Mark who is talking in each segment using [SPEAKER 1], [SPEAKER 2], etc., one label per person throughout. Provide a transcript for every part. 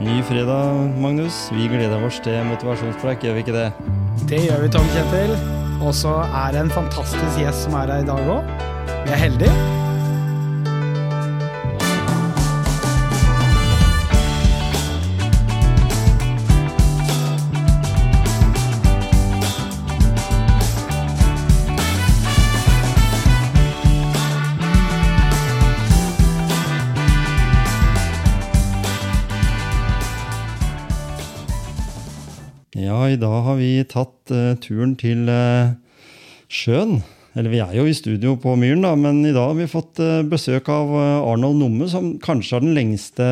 [SPEAKER 1] Ny fredag, Magnus. Vi gleder oss til motivasjonspreik, gjør vi ikke det?
[SPEAKER 2] Det gjør vi, Tom Kjetil. Og så er det en fantastisk gjest som er her i dag òg. Vi er heldige.
[SPEAKER 1] Ja, i dag har vi tatt eh, turen til eh, sjøen. Eller vi er jo i studio på Myren, da, men i dag har vi fått eh, besøk av eh, Arnold Numme, som kanskje har den lengste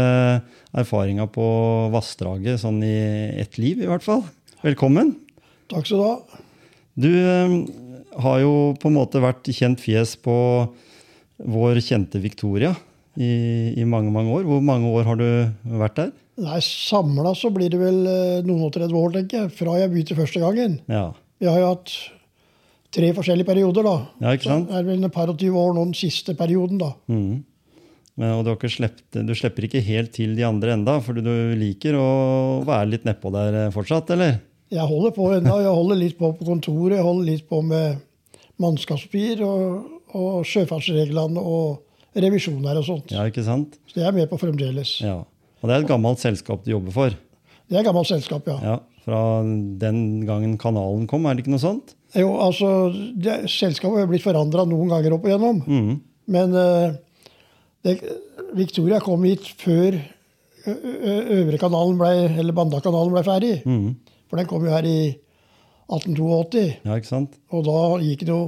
[SPEAKER 1] erfaringa på vassdraget, sånn i ett liv i hvert fall. Velkommen.
[SPEAKER 3] Takk skal du ha.
[SPEAKER 1] Du eh, har jo på en måte vært kjent fjes på vår kjente Victoria i, i mange, mange år. Hvor mange år har du vært der?
[SPEAKER 3] Nei, Samla så blir det vel eh, noen og 30 år, tenker jeg, fra jeg begynte første gangen.
[SPEAKER 1] Ja,
[SPEAKER 3] Vi har jo hatt tre forskjellige perioder, da.
[SPEAKER 1] ja ikke sant?
[SPEAKER 3] Så er det vel et par og tyve år nå den siste perioden, da.
[SPEAKER 1] Mhm. Men, og du, har ikke slept, du slipper ikke helt til de andre enda, fordi du liker å være litt nedpå der eh, fortsatt, eller?
[SPEAKER 3] Jeg holder på ennå. Jeg holder litt på på kontoret, jeg holder litt på med mannskapspapir og, og sjøfartsreglene og revisjoner og sånt.
[SPEAKER 1] Ja, ikke sant?
[SPEAKER 3] Så det er jeg med på fremdeles.
[SPEAKER 1] Ja. Og det er et gammelt selskap du jobber for.
[SPEAKER 3] Det er gammelt selskap, ja.
[SPEAKER 1] Ja, Fra den gangen kanalen kom, er det ikke noe sånt?
[SPEAKER 3] Jo, altså, det, Selskapet har blitt forandra noen ganger opp igjennom.
[SPEAKER 1] Mhm.
[SPEAKER 3] Men eh, det, Victoria kom hit før ø- ø- øvre kanalen ble, eller Bandakanalen ble ferdig.
[SPEAKER 1] Mhm.
[SPEAKER 3] For den kom jo her i 1882.
[SPEAKER 1] Ja, ikke sant?
[SPEAKER 3] Og da gikk det jo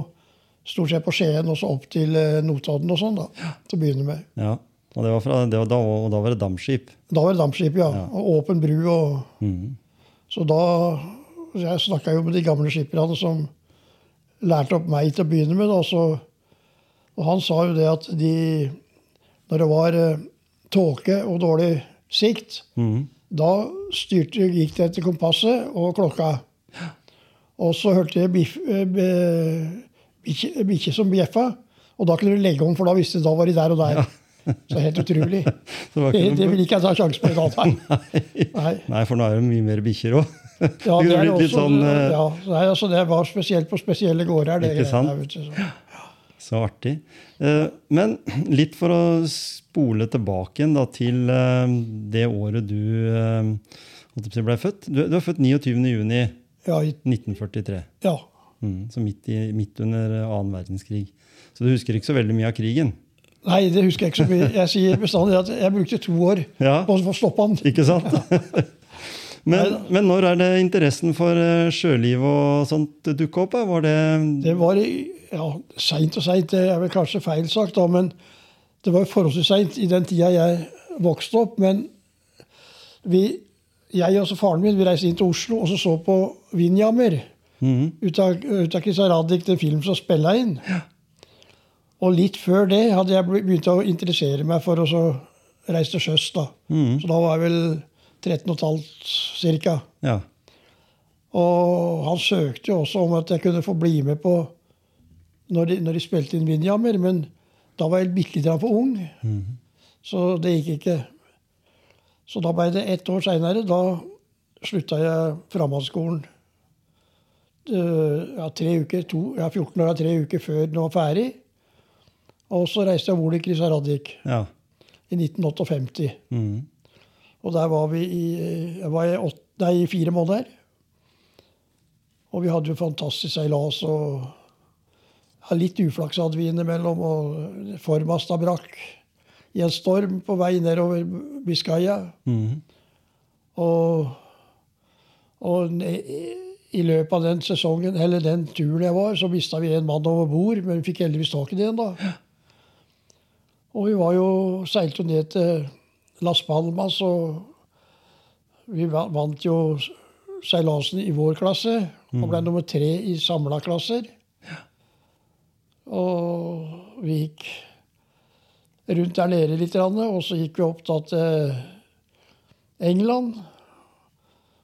[SPEAKER 3] stort sett på Skien og så opp til eh, Notodden og sånn, da, til å begynne med.
[SPEAKER 1] Ja. Og, det var fra, det var da, og da var det dampskip.
[SPEAKER 3] Da var det dampskip, ja.
[SPEAKER 1] Ja.
[SPEAKER 3] Og åpen bru. og...
[SPEAKER 1] Mhm.
[SPEAKER 3] Så da Jeg snakka jo med de gamle skipperne som lærte opp meg til å begynne med. Da, så, og han sa jo det at de Når det var eh, tåke og dårlig sikt,
[SPEAKER 1] Mhm.
[SPEAKER 3] da styrte, gikk det etter kompasset og klokka. Og så hørte jeg biff- eh, be- bikkje bikkje som bjeffa, og da kunne du legge om, for da visste du da var de der og der. Så helt utrolig.
[SPEAKER 1] Så det var
[SPEAKER 3] Det,
[SPEAKER 1] ikke noe-
[SPEAKER 3] det vil ikke jeg ta sjansen på i dag. Nei. Nei.
[SPEAKER 1] Nei, for nå er det mye mer bikkjer òg.
[SPEAKER 3] Ja, det er
[SPEAKER 1] litt, litt
[SPEAKER 3] også,
[SPEAKER 1] sånn eh,
[SPEAKER 3] ja, nei, altså det var spesielt på spesielle gårder. Det,
[SPEAKER 1] Ikke sant?
[SPEAKER 3] greiene der, vet du, så.
[SPEAKER 1] Så artig. Eh, Men litt for å spole tilbake igjen da, til eh, det året du eh, holdt jeg på å si ble født. Du, du er født 29.6.1943,
[SPEAKER 3] Ja, i- ja,
[SPEAKER 1] mm, så midt, i, midt under eh, annen verdenskrig. Så du husker ikke så veldig mye av krigen.
[SPEAKER 3] nei, det husker jeg ikke så mye. Jeg sier bestandig at jeg brukte to år
[SPEAKER 1] Ja.
[SPEAKER 3] på å få stoppa den.
[SPEAKER 1] Ikke sant? men, men når er det interessen for eh, sjøliv og sånt dukka opp? da? Var det
[SPEAKER 3] Det var i- ja, seint og seint, det er vel kanskje feil sagt, da, men det var jo forholdsvis seint i den tida jeg vokste opp. Men vi, jeg og så faren min vi reiste inn til Oslo og så, så på Vinjammer.
[SPEAKER 1] Mhm.
[SPEAKER 3] ut av, ut av Christian Radich, den film som spilla inn. Og litt før det hadde jeg be- begynt å interessere meg for å så reise til sjøs. da.
[SPEAKER 1] Mhm.
[SPEAKER 3] Så da var jeg vel 13 15 ca.
[SPEAKER 1] Ja.
[SPEAKER 3] Og han søkte jo også om at jeg kunne få bli med på når de, når de spilte inn Vindjammer, men da var jeg bitte lite grann for ung, så det gikk ikke. Så da ble det ett år seinere. Da slutta jeg framhandsskolen. Eh, Ja, tre uker, to, ja, 14 år og tre uker før den var ferdig. Og så reiste jeg om bord i Krisa Raddik
[SPEAKER 1] ja.
[SPEAKER 3] i 1958.
[SPEAKER 1] Mhm.
[SPEAKER 3] Og der var vi i, jeg var i, åt, nei, i fire måneder. Og vi hadde jo fantastisk seilas. og ja, Litt uflaks hadde vi innimellom. og Formasta brakk i en storm på vei nedover Biscaya.
[SPEAKER 1] Mhm.
[SPEAKER 3] Og, og ne- i løpet av den sesongen, eller den turen jeg var, så mista vi en mann over bord, men vi fikk heldigvis tak i den da. Og vi var jo, seilte jo ned til Las Palmas, og vi va- vant jo seilasen i vår klasse. Og ble nummer tre i samla klasser. Og vi gikk rundt der nede litt, grann, og så gikk vi opp da til England.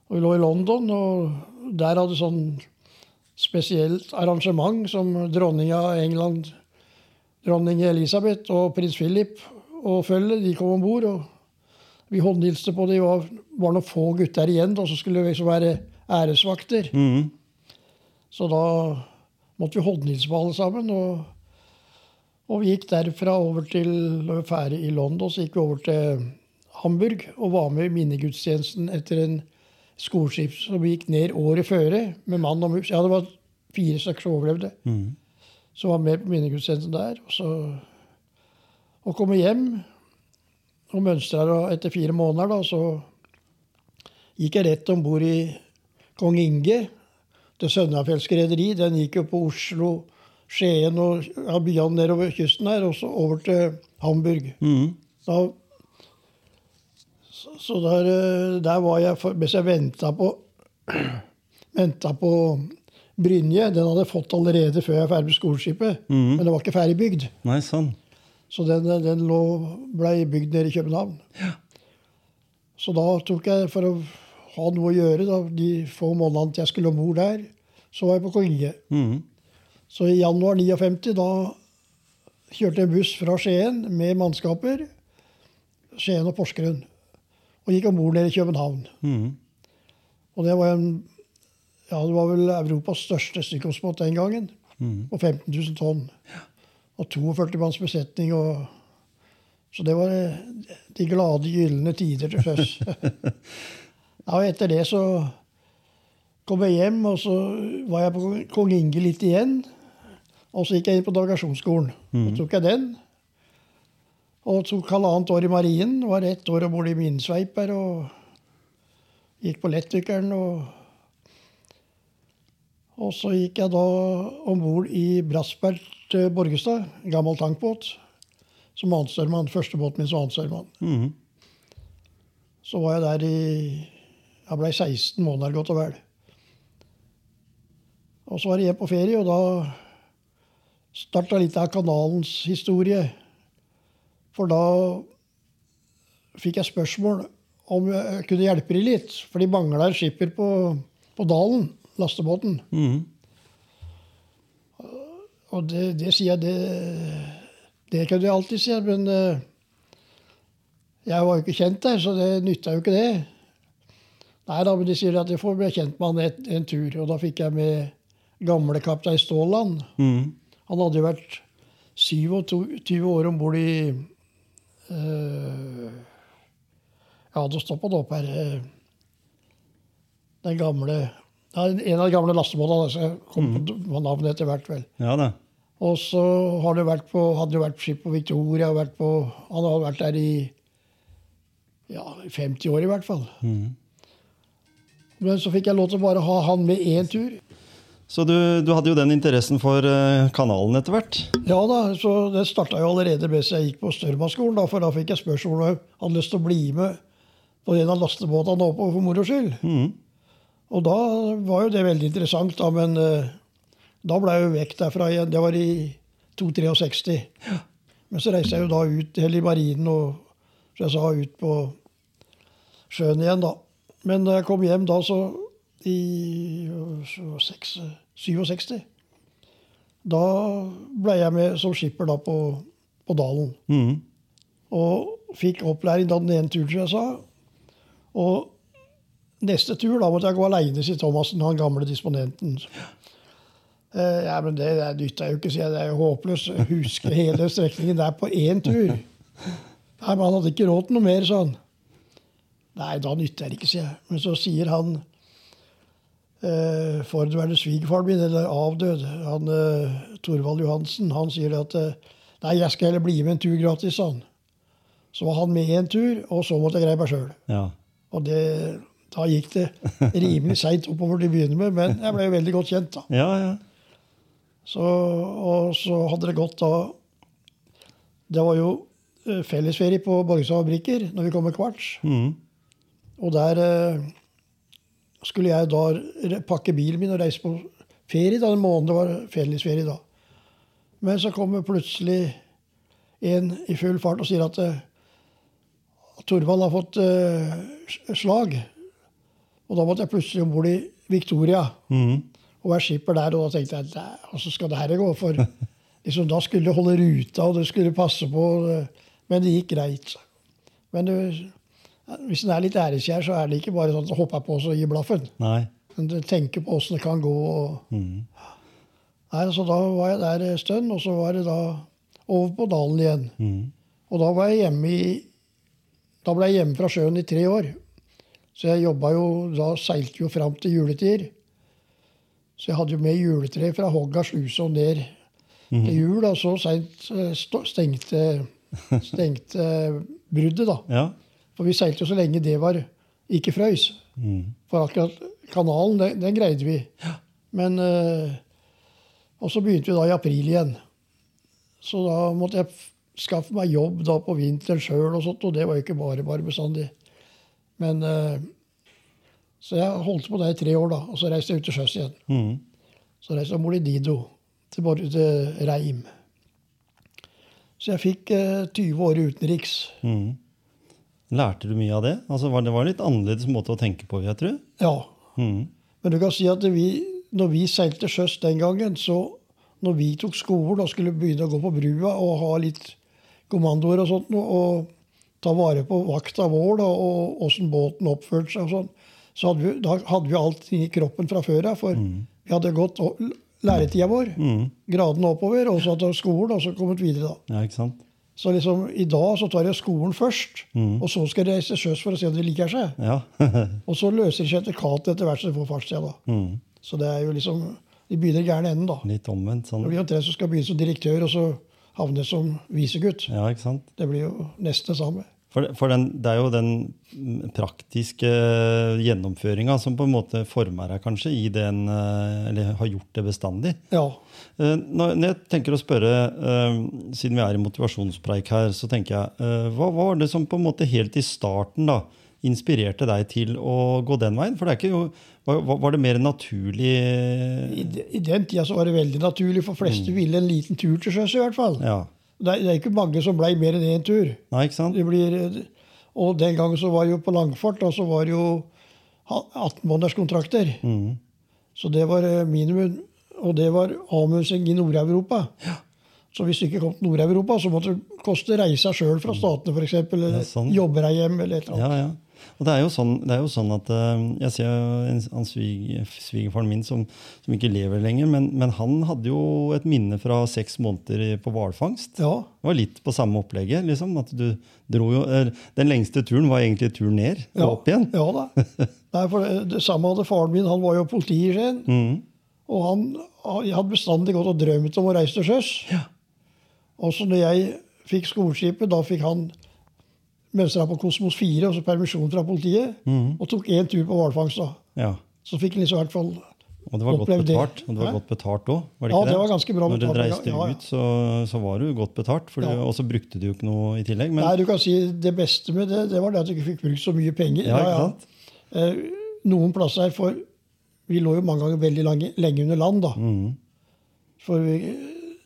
[SPEAKER 3] Og vi lå i London, og der hadde sånn spesielt arrangement som dronninga av England, dronning Elisabeth og prins Philip og følget, de kom om bord. Og Vi håndhilste på det. Det var, var noen få gutter igjen da, som skulle liksom være æresvakter.
[SPEAKER 1] Mhm.
[SPEAKER 3] Så da måtte vi håndhilse på alle sammen. Og, og vi gikk derfra over til Når vi var ferdig i London, så gikk vi over til Hamburg og var med i minnegudstjenesten etter en skoleskip som vi gikk ned året føre med mann og mus. Ja, det var fire stykker som overlevde.
[SPEAKER 1] Mhm.
[SPEAKER 3] Som var med på minnegudstjenesten der. Og så og kommer hjem og mønstrer, og etter fire måneder da, så gikk jeg rett om bord i Kong Inge til Sønnafjellske rederi. Den gikk jo på Oslo, Skien og ja, byene nedover kysten her, og så over til Hamburg.
[SPEAKER 1] Mhm.
[SPEAKER 3] Da, så så der, eh, der var jeg for, mens jeg venta på Venta på Brynje. Den hadde jeg fått allerede før jeg var ferdig med skoleskipet.
[SPEAKER 1] Mhm.
[SPEAKER 3] Men det var ikke ferdig bygd.
[SPEAKER 1] Nei, sånn.
[SPEAKER 3] Så den, den lå, ble bygd nede i København. Så da tok jeg, for å ha noe å gjøre da, de få månedene til jeg skulle om bord der, så var jeg på Konge.
[SPEAKER 1] Mhm.
[SPEAKER 3] Så i januar 59, da kjørte jeg en buss fra Skien med mannskaper, Skien og Porsgrunn, og gikk om bord nede i København.
[SPEAKER 1] Mhm.
[SPEAKER 3] Og det var, en, ja, det var vel Europas største stykkomsbåt den gangen,
[SPEAKER 1] Mhm.
[SPEAKER 3] på 15 000 tonn. Og 42 manns besetning. Og, så det var eh, de glade, gylne tider til sjøs. ja, og etter det så kom jeg hjem, og så var jeg på Kong Inge litt igjen. Og så gikk jeg inn på navigasjonsskolen. Så tok jeg den. Og tok halvannet år i marinen. Var ett år om bord i minesveiper. Og gikk på lettdykkeren. Og, og så gikk jeg da om bord i Brassberg til Borgestad. en Gammel tankbåt. Som annenstørmann. Første båten min som annenstørmann.
[SPEAKER 1] Mhm.
[SPEAKER 3] Så var jeg der i Jeg blei 16 måneder, godt og vel. Og så var det hjem på ferie, og da starta litt av kanalens historie. For da fikk jeg spørsmål om jeg kunne hjelpe de litt. For de mangla en skipper på, på Dalen, lastebåten.
[SPEAKER 1] Mhm.
[SPEAKER 3] Og det, det sier jeg det, det kunne jeg alltid si, men eh, jeg var jo ikke kjent der, så det nytta jo ikke det. Nei da, men de sier at jeg får bli kjent med han et, en tur. Og da fikk jeg med gamle kaptein Ståland.
[SPEAKER 1] Mhm.
[SPEAKER 3] Han hadde jo vært 27 år om bord i eh, Ja, det står på det opp her eh, Den gamle ja, En av de gamle lastebåtene. altså, Jeg kom på navnet etter hvert, vel.
[SPEAKER 1] Ja da.
[SPEAKER 3] Og så har det vært på, hadde det vært skip på Victoria. og Vært på, han har vært der i ja, 50 år i hvert fall.
[SPEAKER 1] Mhm.
[SPEAKER 3] Men så fikk jeg lov til å bare ha han med én tur.
[SPEAKER 1] Så du, du hadde jo den interessen for eh, kanalen etter hvert?
[SPEAKER 3] Ja da, så Det starta jo allerede mens jeg gikk på Størmaskolen, da, for da fikk jeg spørsmål om jeg hadde lyst til å bli med på en av lastebåtene oppover for moro skyld.
[SPEAKER 1] Mhm.
[SPEAKER 3] Og da var jo det veldig interessant, da, men eh, da ble jeg jo vekk derfra igjen. Det var i 263. Men så reiste jeg jo da ut eller i marinen og som jeg sa, ut på sjøen igjen, da. Men da jeg kom hjem da, så i eh, 26, 67 Da ble jeg med som skipper da på, på Dalen.
[SPEAKER 1] Mhm.
[SPEAKER 3] Og fikk opplæring da den ene turen, som jeg sa. Og neste tur da måtte jeg gå aleine, sier Thomassen, han gamle disponenten. Eh, ja, men det, det nytter jo ikke, sier jeg. Det er jo håpløst. Huske hele strekningen der på én tur. Nei, men han hadde ikke råd til noe mer, sa han. Nei, da nytter det ikke, sier jeg. Men så sier han eh, forhenværende svigerfaren min, eller avdød, han eh, Torvald Johansen, han sier det at eh, nei, jeg skal heller bli med en tur gratis, sa han. Så var han med en tur, og så måtte jeg greie meg sjøl.
[SPEAKER 1] Ja.
[SPEAKER 3] Og det, da gikk det rimelig seint oppover til å begynne med, men jeg ble jo veldig godt kjent, da.
[SPEAKER 1] Ja, ja.
[SPEAKER 3] Så, og så hadde det gått da Det var jo eh, fellesferie på Borgestad fabrikker når vi kom med kvarts.
[SPEAKER 1] Mhm.
[SPEAKER 3] Og der eh, skulle jeg da re- pakke bilen min og reise på ferie. da, En måned var fellesferie da. Men så kommer plutselig en i full fart og sier at eh, Torvald har fått eh, s- slag. Og da måtte jeg plutselig om bord i Victoria
[SPEAKER 1] Mhm.
[SPEAKER 3] og være skipper der. Og da tenkte jeg "Nei, hvordan skal det her gå? For liksom, da skulle jeg holde ruta, og det skulle passe på. eh, Men det gikk greit. Men det, Hvis en er litt æreskjær, så er det ikke bare sånn at en hopper på oss og gir blaffen.
[SPEAKER 1] Nei.
[SPEAKER 3] Men du tenker på åssen det kan gå. Og... Nei, så da var jeg der en stund, og så var det da over på dalen igjen.
[SPEAKER 1] Mm.
[SPEAKER 3] Og da var jeg hjemme i Da ble jeg hjemme fra sjøen i tre år. Så jeg jobba jo Da seilte jo fram til juletider. Så jeg hadde jo med juletre fra Hogga sluse og ned til jul. Og så seint eh, sto- stengte, stengte bruddet, da.
[SPEAKER 1] Ja.
[SPEAKER 3] For vi seilte jo så lenge det var ikke frøys.
[SPEAKER 1] Mm.
[SPEAKER 3] For akkurat kanalen, den, den greide vi. Men eh, Og så begynte vi da i april igjen. Så da måtte jeg f- skaffe meg jobb da på vinteren sjøl, og sånt, og det var jo ikke bare bare bestandig. Men eh, Så jeg holdt på der i tre år, da. Og så reiste jeg ut til sjøs igjen.
[SPEAKER 1] Mm.
[SPEAKER 3] Så reiste jeg til Molidido, til, Bor- til Reim. Så jeg fikk eh, 20 år utenriks.
[SPEAKER 1] Mm. Lærte du mye av det? Altså, var, det var en litt annerledes måte å tenke på, vil jeg tro.
[SPEAKER 3] Ja,
[SPEAKER 1] Mm.
[SPEAKER 3] Men du kan si at vi, når vi seilte til sjøs den gangen, så når vi tok skolen og skulle begynne å gå på brua og ha litt kommandoer og sånt, noe, og ta vare på vakta vår da, og åssen båten oppførte seg og sånn, så hadde vi, da hadde vi allting i kroppen fra før av. For vi hadde gått å- læretida vår, gradene oppover, og så hadde vi skolen, og så kommet videre. da.
[SPEAKER 1] Ja, ikke sant?
[SPEAKER 3] Så liksom, i dag så tar jeg skolen først, og så skal jeg reise til sjøs for å se om det liker seg.
[SPEAKER 1] Ja.
[SPEAKER 3] Og så løser de seg etter katet etter hvert som de får fartstid. da.
[SPEAKER 1] mm.
[SPEAKER 3] Så det er jo liksom De begynner i gærne enden, da.
[SPEAKER 1] Litt omvendt sånn.
[SPEAKER 3] Det blir omtrent som skal begynne som direktør, og så havne som visegutt.
[SPEAKER 1] Ja, ikke sant?
[SPEAKER 3] Det blir jo nesten det samme.
[SPEAKER 1] For, for den, det er jo den mm, praktiske gjennomføringa som på en måte former deg kanskje i den eh, Eller har gjort det bestandig.
[SPEAKER 3] Ja.
[SPEAKER 1] Eh, Når når jeg tenker å spørre, eh, siden vi er i motivasjonspreik her, så tenker jeg eh, hva hva var det som på en måte helt i starten da, inspirerte deg til å gå den veien? For det er ikke jo, var, var- var det mer
[SPEAKER 3] I,
[SPEAKER 1] naturlig
[SPEAKER 3] de- I den tida så var det veldig naturlig, for fleste ville en liten tur til sjøs, i hvert fall.
[SPEAKER 1] Mm. Ja.
[SPEAKER 3] Det, er, det er ikke mange som blei mer enn én tur.
[SPEAKER 1] Nei, ikke sant?
[SPEAKER 3] Det blir, og den gangen så var det jo på langfart, og så var det jo ha- 18-månederskontrakter.
[SPEAKER 1] Mm.
[SPEAKER 3] Så det var eh, minimum. Og det var avmusing i Nord-Europa. Så hvis du ikke kom til Nord-Europa, så måtte det koste reisa sjøl fra statene, f.eks. Eller
[SPEAKER 1] Mm. Ja, sånn.
[SPEAKER 3] jobbe deg hjem, eller et eller annet.
[SPEAKER 1] Ja, ja. Og det er jo sånn, det er jo sånn at eh, Jeg ser jo en, han svig, svigerfaren min som, som ikke lever lenger, men, men han hadde jo et minne fra seks måneder i- på hvalfangst.
[SPEAKER 3] Ja.
[SPEAKER 1] Det var litt på samme opplegget. liksom, at du dro jo, eller, Den lengste turen var egentlig turen ned og
[SPEAKER 3] ja.
[SPEAKER 1] opp igjen.
[SPEAKER 3] Ja da. Nei, for det, det samme hadde faren min. Han var jo politi i Skien.
[SPEAKER 1] Mhm.
[SPEAKER 3] Og han, han hadde bestandig gått og drømt om å reise til sjøs. Og så når jeg fikk skoleskipet, da fikk han mønstra på Kosmos 4, altså permisjon fra politiet,
[SPEAKER 1] Mm.
[SPEAKER 3] og tok én tur på hvalfangst. da.
[SPEAKER 1] Ja.
[SPEAKER 3] Så fikk han liksom i hvert fall
[SPEAKER 1] Og det var godt
[SPEAKER 3] Opplevd det.
[SPEAKER 1] betalt og det var
[SPEAKER 3] Hæ?
[SPEAKER 1] godt betalt òg. Var det
[SPEAKER 3] Ja,
[SPEAKER 1] ikke
[SPEAKER 3] det var ganske bra
[SPEAKER 1] Når du
[SPEAKER 3] betalt, ja,
[SPEAKER 1] reiste
[SPEAKER 3] ja, ja.
[SPEAKER 1] ut, så, så var du godt betalt, for du-
[SPEAKER 3] Ja.
[SPEAKER 1] og så brukte du jo ikke noe i tillegg. Men,
[SPEAKER 3] Nei, du kan si det beste med det, det var det at du ikke fikk brukt så mye penger.
[SPEAKER 1] ja, ikke sant?
[SPEAKER 3] Eh, Noen plasser, for vi lå jo mange ganger veldig lange, lenge under land, da. For vi,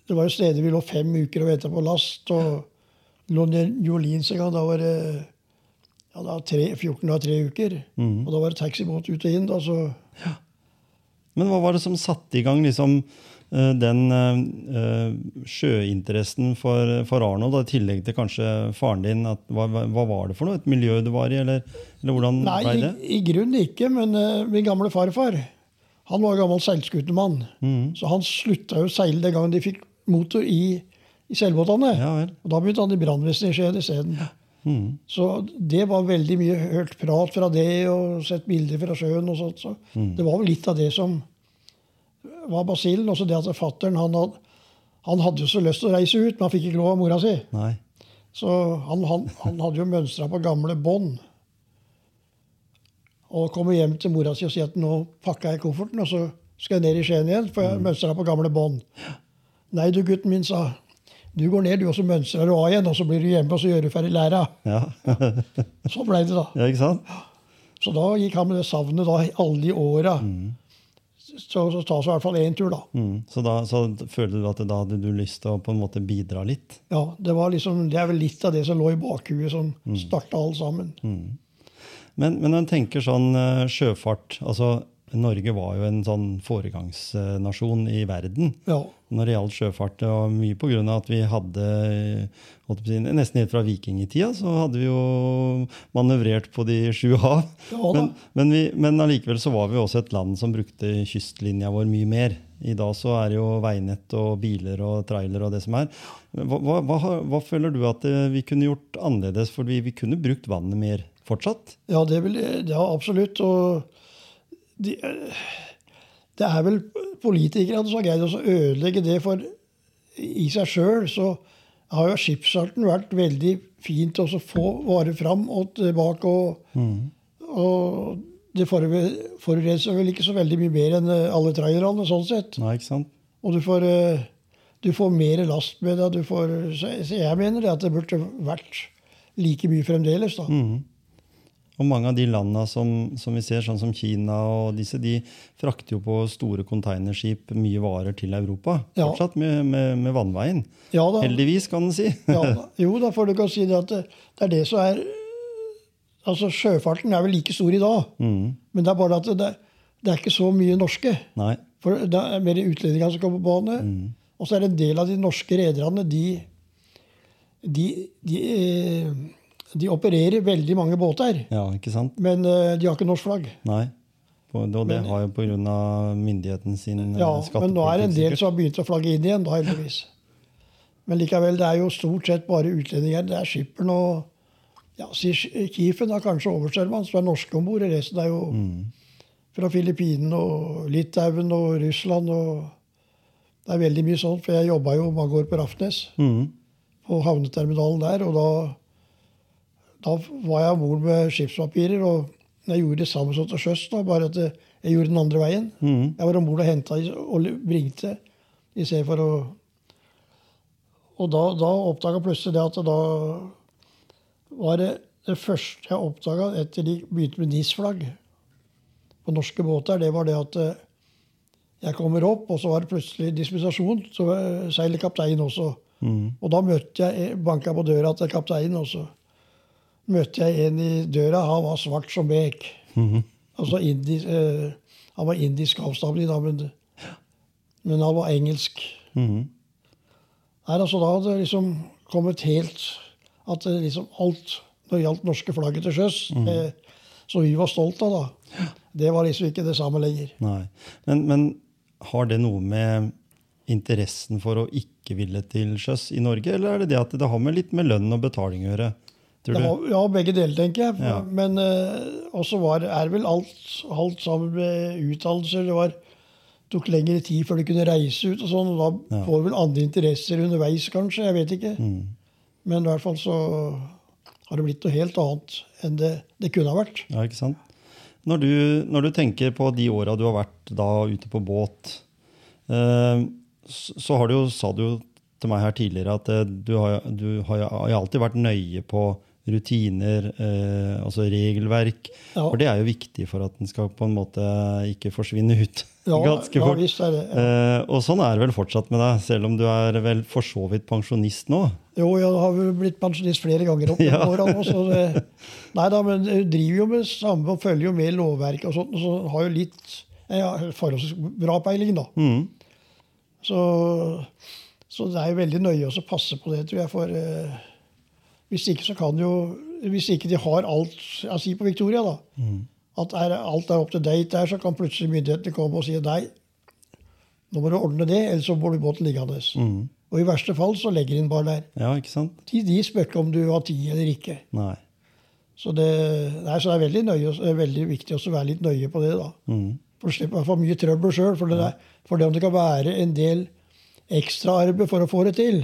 [SPEAKER 3] det var jo steder vi lå fem uker og venta på last, og lå ned New Orleans en gang, da var det ja, da tre, 14 av tre uker. Og da var det taxibåt ut og inn, da, så
[SPEAKER 1] Men hva var det som satte i gang liksom, eh, den eh, eh, sjøinteressen for, for Arnold, da, i tillegg til kanskje faren din? At, hva, hva hva var det for noe? Et miljø du var i, eller, eller hvordan
[SPEAKER 3] Nei,
[SPEAKER 1] ble
[SPEAKER 3] i,
[SPEAKER 1] det?
[SPEAKER 3] i grunnen ikke, men eh, min gamle farfar han var gammel seilskutemann.
[SPEAKER 1] Mm.
[SPEAKER 3] Så han slutta jo å seile den gangen de fikk motor i, i seilbåtene.
[SPEAKER 1] Ja vel.
[SPEAKER 3] Og da begynte han i brannvesenet i Skien isteden.
[SPEAKER 1] Mhm.
[SPEAKER 3] Så det var veldig mye hørt prat fra det og sett bilder fra sjøen. og sånt. Så
[SPEAKER 1] Mm.
[SPEAKER 3] Det var vel litt av det som var basillen. Også det at fattern han, had- han hadde jo så lyst til å reise ut, men han fikk ikke lov av mora si.
[SPEAKER 1] Nei.
[SPEAKER 3] Så han, han, han hadde jo mønstra på gamle bånd. Og kommer hjem til mora si og sier at nå pakker jeg kofferten, og så skal jeg ned i Skien igjen, for jeg mønstra på gamle bånd. Nei du, gutten min, sa Du går ned, du, og så mønstrer du av igjen, og så blir du hjemme, og så gjør du ferdig læra.
[SPEAKER 1] Ja.
[SPEAKER 3] Så blei det, da.
[SPEAKER 1] ja, ikke sant?
[SPEAKER 3] Så da gikk han med det savnet da, i alle de åra. Så, så tas det i hvert fall én tur, da.
[SPEAKER 1] Mm. Så da så føler du at da hadde du lyst til å på en måte bidra litt?
[SPEAKER 3] Ja, Det var liksom, det er vel litt av det som lå i bakhuet, som starta alt sammen.
[SPEAKER 1] Men, men når en tenker sånn eh, sjøfart altså eh, Norge var jo en sånn foregangsnasjon i verden
[SPEAKER 3] Ja.
[SPEAKER 1] når det gjaldt sjøfart. Og mye på grunn av at vi hadde holdt på å si, Nesten helt fra vikingtida så hadde vi jo manøvrert på de sju hav.
[SPEAKER 3] Ja da.
[SPEAKER 1] men, men, vi, men allikevel så var vi også et land som brukte kystlinja vår mye mer. I dag så er det jo veinett og biler og trailer og det som er. Hva, hva, hva, har- hva føler du at eh, vi kunne gjort annerledes? Fordi vi kunne brukt vannet mer fortsatt.
[SPEAKER 3] Ja, det vil, ja absolutt. Og de, det er vel politikerne som har greid å ødelegge det, for i seg sjøl så har jo skipsfarten vært veldig fint å så få varer fram og tilbake. Og,
[SPEAKER 1] Mm.
[SPEAKER 3] og det forure- forurenser vel ikke så veldig mye mer enn eh, alle trailerne, sånn sett.
[SPEAKER 1] Nei, ikke sant?
[SPEAKER 3] Og du får, eh, du får mer last med deg. Du får, så, så jeg mener det at det burde vært like mye fremdeles, da.
[SPEAKER 1] Mm. Og mange av de landene som, som vi ser, sånn som Kina og disse, de frakter jo på store containerskip mye varer til Europa.
[SPEAKER 3] Ja.
[SPEAKER 1] Fortsatt med, med, med vannveien.
[SPEAKER 3] Ja da.
[SPEAKER 1] Heldigvis, kan en si.
[SPEAKER 3] Ja, da. jo da, for du kan si det at det, det er det som er Altså, sjøfarten er vel like stor i dag,
[SPEAKER 1] Mhm.
[SPEAKER 3] men det er bare at det, det er ikke så mye norske.
[SPEAKER 1] Nei.
[SPEAKER 3] For det er mer utlendinger som kommer på bane. Og så er det en del av de norske rederne, de de, de, eh, de opererer veldig mange båter,
[SPEAKER 1] Ja, ikke sant?
[SPEAKER 3] men eh, de har ikke norsk flagg.
[SPEAKER 1] Nei. På- Og det
[SPEAKER 3] Men-
[SPEAKER 1] har jo pga. myndigheten sin eh,
[SPEAKER 3] Ja, Men
[SPEAKER 1] skattepolitikk.
[SPEAKER 3] nå er det en del
[SPEAKER 1] sikkert.
[SPEAKER 3] som har begynt å flagge inn igjen, da, heldigvis. Men likevel, det er jo stort sett bare utlendinger. Det er skipperen og ja, si Sk- Kifen har kanskje overstjermann, som er norske om bord. Resten er jo
[SPEAKER 1] Mm.
[SPEAKER 3] fra Filippinene og Litauen og Russland og Det er veldig mye sånt, for jeg jobba jo mange år på Rafnes,
[SPEAKER 1] Mhm.
[SPEAKER 3] på havneterminalen der, og da, da var jeg om bord med skipspapirer. og jeg gjorde det samme som til sjøs, da, bare at jeg gjorde den andre veien.
[SPEAKER 1] Mhm.
[SPEAKER 3] Jeg var om bord og henta og bringte i stedet for å Og da, da oppdaga plutselig det at da var det det første jeg oppdaga etter de begynte med NIS-flagg på norske båter, det var det at eh, jeg kommer opp, og så var det plutselig dispensasjon. Så eh, seiler kaptein også.
[SPEAKER 1] Mhm.
[SPEAKER 3] Og da møtte jeg, banka på døra til kapteinen, og så møtte jeg en i døra. Han var svart som bek.
[SPEAKER 1] Mhm.
[SPEAKER 3] Altså indi- eh, Han var indisk avstamning, da, men, men han var engelsk.
[SPEAKER 1] Mhm.
[SPEAKER 3] Nei, altså Da hadde det liksom kommet helt At det liksom alt når det gjaldt norske flagget til sjøs, eh, som vi var stolt av, da, det var liksom ikke det samme lenger.
[SPEAKER 1] Nei. Men, men har det noe med interessen for å ikke ville til sjøs i Norge, eller er det det at det har med litt med lønn og betaling å gjøre? Tror
[SPEAKER 3] Det
[SPEAKER 1] du?
[SPEAKER 3] var, ja, begge deler, tenker jeg.
[SPEAKER 1] Ja.
[SPEAKER 3] Men eh, også var, er vel alt, alt sammen med utdannelser. Det var, tok lengre tid før du kunne reise ut og sånn. Og da
[SPEAKER 1] Ja.
[SPEAKER 3] får du vel andre interesser underveis, kanskje. Jeg vet ikke.
[SPEAKER 1] Mhm.
[SPEAKER 3] Men i hvert fall så har det blitt noe helt annet enn det, det kunne ha vært.
[SPEAKER 1] Ja, ikke sant? Når du, når du tenker på de åra du har vært da ute på båt, eh, så så har du jo, sa du jo til meg her tidligere at eh, du har, du har jo har jo alltid vært nøye på rutiner, eh, altså regelverk.
[SPEAKER 3] Ja.
[SPEAKER 1] For det er jo viktig for at den skal på en måte ikke forsvinne ut ganske
[SPEAKER 3] ja,
[SPEAKER 1] fort.
[SPEAKER 3] visst er det.
[SPEAKER 1] Eh, og sånn er det vel fortsatt med deg, selv om du er vel for så vidt pensjonist nå.
[SPEAKER 3] Jo, jeg har vel blitt pensjonist flere ganger opp i
[SPEAKER 1] Ja.
[SPEAKER 3] åra nå. Så det, nei da, men jeg driver jo med samme og følger jo med lovverket og sånt, og så har jo litt jeg har forholdsvis bra peiling, da.
[SPEAKER 1] Mhm.
[SPEAKER 3] Så, så det er jo veldig nøye å passe på det, tror jeg. For eh, hvis ikke så kan jo Hvis ikke de har alt Jeg sier på Victoria, da. At er, alt er up to date der, så kan plutselig myndighetene komme og si nei. Nå må du ordne det, ellers så får du båten liggende.
[SPEAKER 1] Mhm.
[SPEAKER 3] Og i verste fall så legger de den bare der.
[SPEAKER 1] Ja, ikke sant?
[SPEAKER 3] De, de spør ikke om du har tid eller ikke.
[SPEAKER 1] Nei.
[SPEAKER 3] Så det, nei, så det er veldig, nøye, det er veldig viktig å være litt nøye på det, da.
[SPEAKER 1] Mhm.
[SPEAKER 3] For du slipper å få mye trøbbel sjøl. For, det der- for det om det kan være en del ekstraarbeid for å få det til,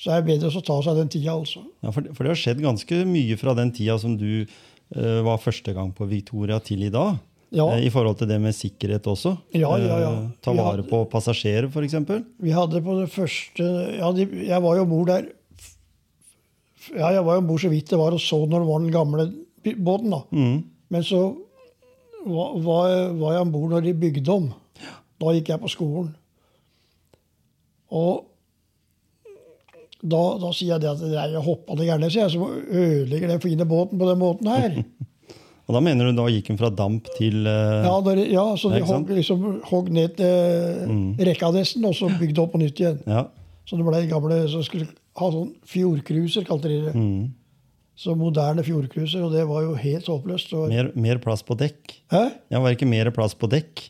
[SPEAKER 3] så er det bedre å ta seg den tida, altså.
[SPEAKER 1] Ja, for, for det har skjedd ganske mye fra den tida som du eh, var første gang på Victoria, til i dag.
[SPEAKER 3] Ja.
[SPEAKER 1] Eh, I forhold til det med sikkerhet også.
[SPEAKER 3] Ja, ja, ja.
[SPEAKER 1] Eh, ta
[SPEAKER 3] Vi
[SPEAKER 1] vare
[SPEAKER 3] hadde-
[SPEAKER 1] på passasjerer, f.eks.
[SPEAKER 3] Vi hadde på det første ja, de, Jeg var jo om bord der f- f- Ja, jeg var jo om bord så vidt det var, og så når det var den gamle by- båten, da.
[SPEAKER 1] Mm.
[SPEAKER 3] Men så var, var, var jeg om bord når de bygde om. Da gikk jeg på skolen. Og da, da sier jeg det at det er jeg hoppa det gærne, sier jeg, som ødelegger den fine båten på den måten her.
[SPEAKER 1] Og da mener du da gikk den fra damp til eh,
[SPEAKER 3] Ja, der, ja så de
[SPEAKER 1] Ikke sant? Mm.
[SPEAKER 3] hogg, liksom, hogg ned eh, rekkadessen og så bygde opp på nytt igjen.
[SPEAKER 1] ja.
[SPEAKER 3] Så det ble gamle som skulle ha sånn fjordcruiser, kalte de det.
[SPEAKER 1] Mm.
[SPEAKER 3] Så moderne fjordcruiser, og det var jo helt håpløst. Og,
[SPEAKER 1] Mer, mer plass på dekk.
[SPEAKER 3] Hæ?
[SPEAKER 1] Ja, Var det ikke mer plass på dekk?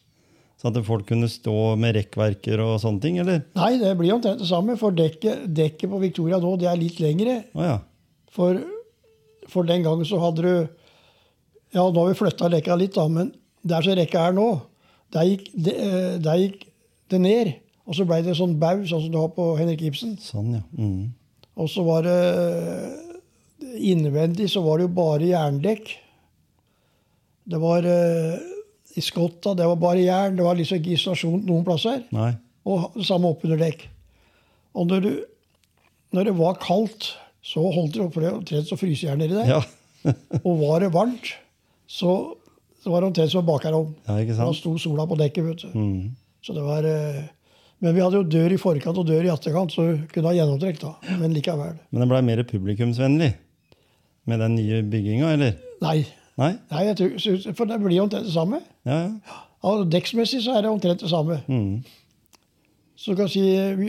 [SPEAKER 1] Sånn at folk kunne stå med rekkverker og sånne ting, eller?
[SPEAKER 3] Nei, det blir omtrent det samme, for dekket, dekket på Victoria nå det er litt lengre.
[SPEAKER 1] Å ja.
[SPEAKER 3] For, for den gangen så hadde du Ja, nå har vi flytta rekka litt, da, men der som rekka er nå, der gikk det, eh, der gikk det ned. Og så blei det sånn bau, sånn som du har på Henrik Ibsen.
[SPEAKER 1] Sånn, ja. Mm.
[SPEAKER 3] Og så var det eh, Innvendig så var det jo bare jerndekk. Det var eh, i skotta, det var bare jern. Det var liksom ikke isolasjon noen plasser.
[SPEAKER 1] Nei.
[SPEAKER 3] Og det samme oppunder dekk. Og når, du, når det var kaldt, så holdt det opp, for det var omtrent som frysejern nedi der.
[SPEAKER 1] Ja.
[SPEAKER 3] Og var det varmt, så, så var det omtrent som en bakerovn.
[SPEAKER 1] ja, ikke
[SPEAKER 3] Da
[SPEAKER 1] sant?
[SPEAKER 3] sto sola på dekket. vet du.
[SPEAKER 1] Mm.
[SPEAKER 3] Så det var... eh, Men vi hadde jo dør i forkant og dør i etterkant, så vi kunne ha gjennomtrekk da. Men likevel.
[SPEAKER 1] Men det blei mer publikumsvennlig med den nye bygginga, eller?
[SPEAKER 3] Nei.
[SPEAKER 1] Nei?
[SPEAKER 3] Nei, jeg tror, synes- for det blir jo omtrent det samme.
[SPEAKER 1] Ja, ja.
[SPEAKER 3] Ja, Dekksmessig så er det omtrent det samme.
[SPEAKER 1] Mm.
[SPEAKER 3] Så du kan si,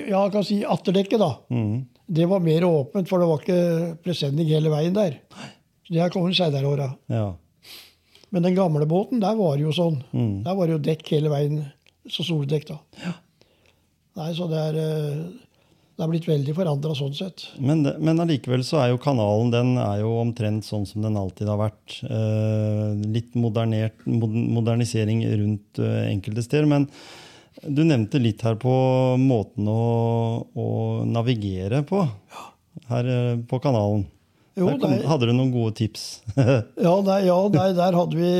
[SPEAKER 3] ja, du kan si atterdekket, da.
[SPEAKER 1] Mm.
[SPEAKER 3] Det var mer åpent, for det var ikke presenning hele veien der. Så Det her kommer senere i åra.
[SPEAKER 1] Ja.
[SPEAKER 3] Men den gamle båten, der var det jo sånn.
[SPEAKER 1] Mm.
[SPEAKER 3] Der var det jo dekk hele veien. Så soldekk, da. Nei, så det er, eh, det er blitt veldig forandra sånn sett.
[SPEAKER 1] Men, det, men allikevel så er jo kanalen den er jo omtrent sånn som den alltid har vært. Eh, litt modernert, mod, modernisering rundt eh, enkelte steder. Men du nevnte litt her på måten å, å navigere på her eh, på kanalen.
[SPEAKER 3] Jo,
[SPEAKER 1] Der kom,
[SPEAKER 3] det er-
[SPEAKER 1] hadde du noen gode tips?
[SPEAKER 3] Ja, nei, ja, nei der hadde vi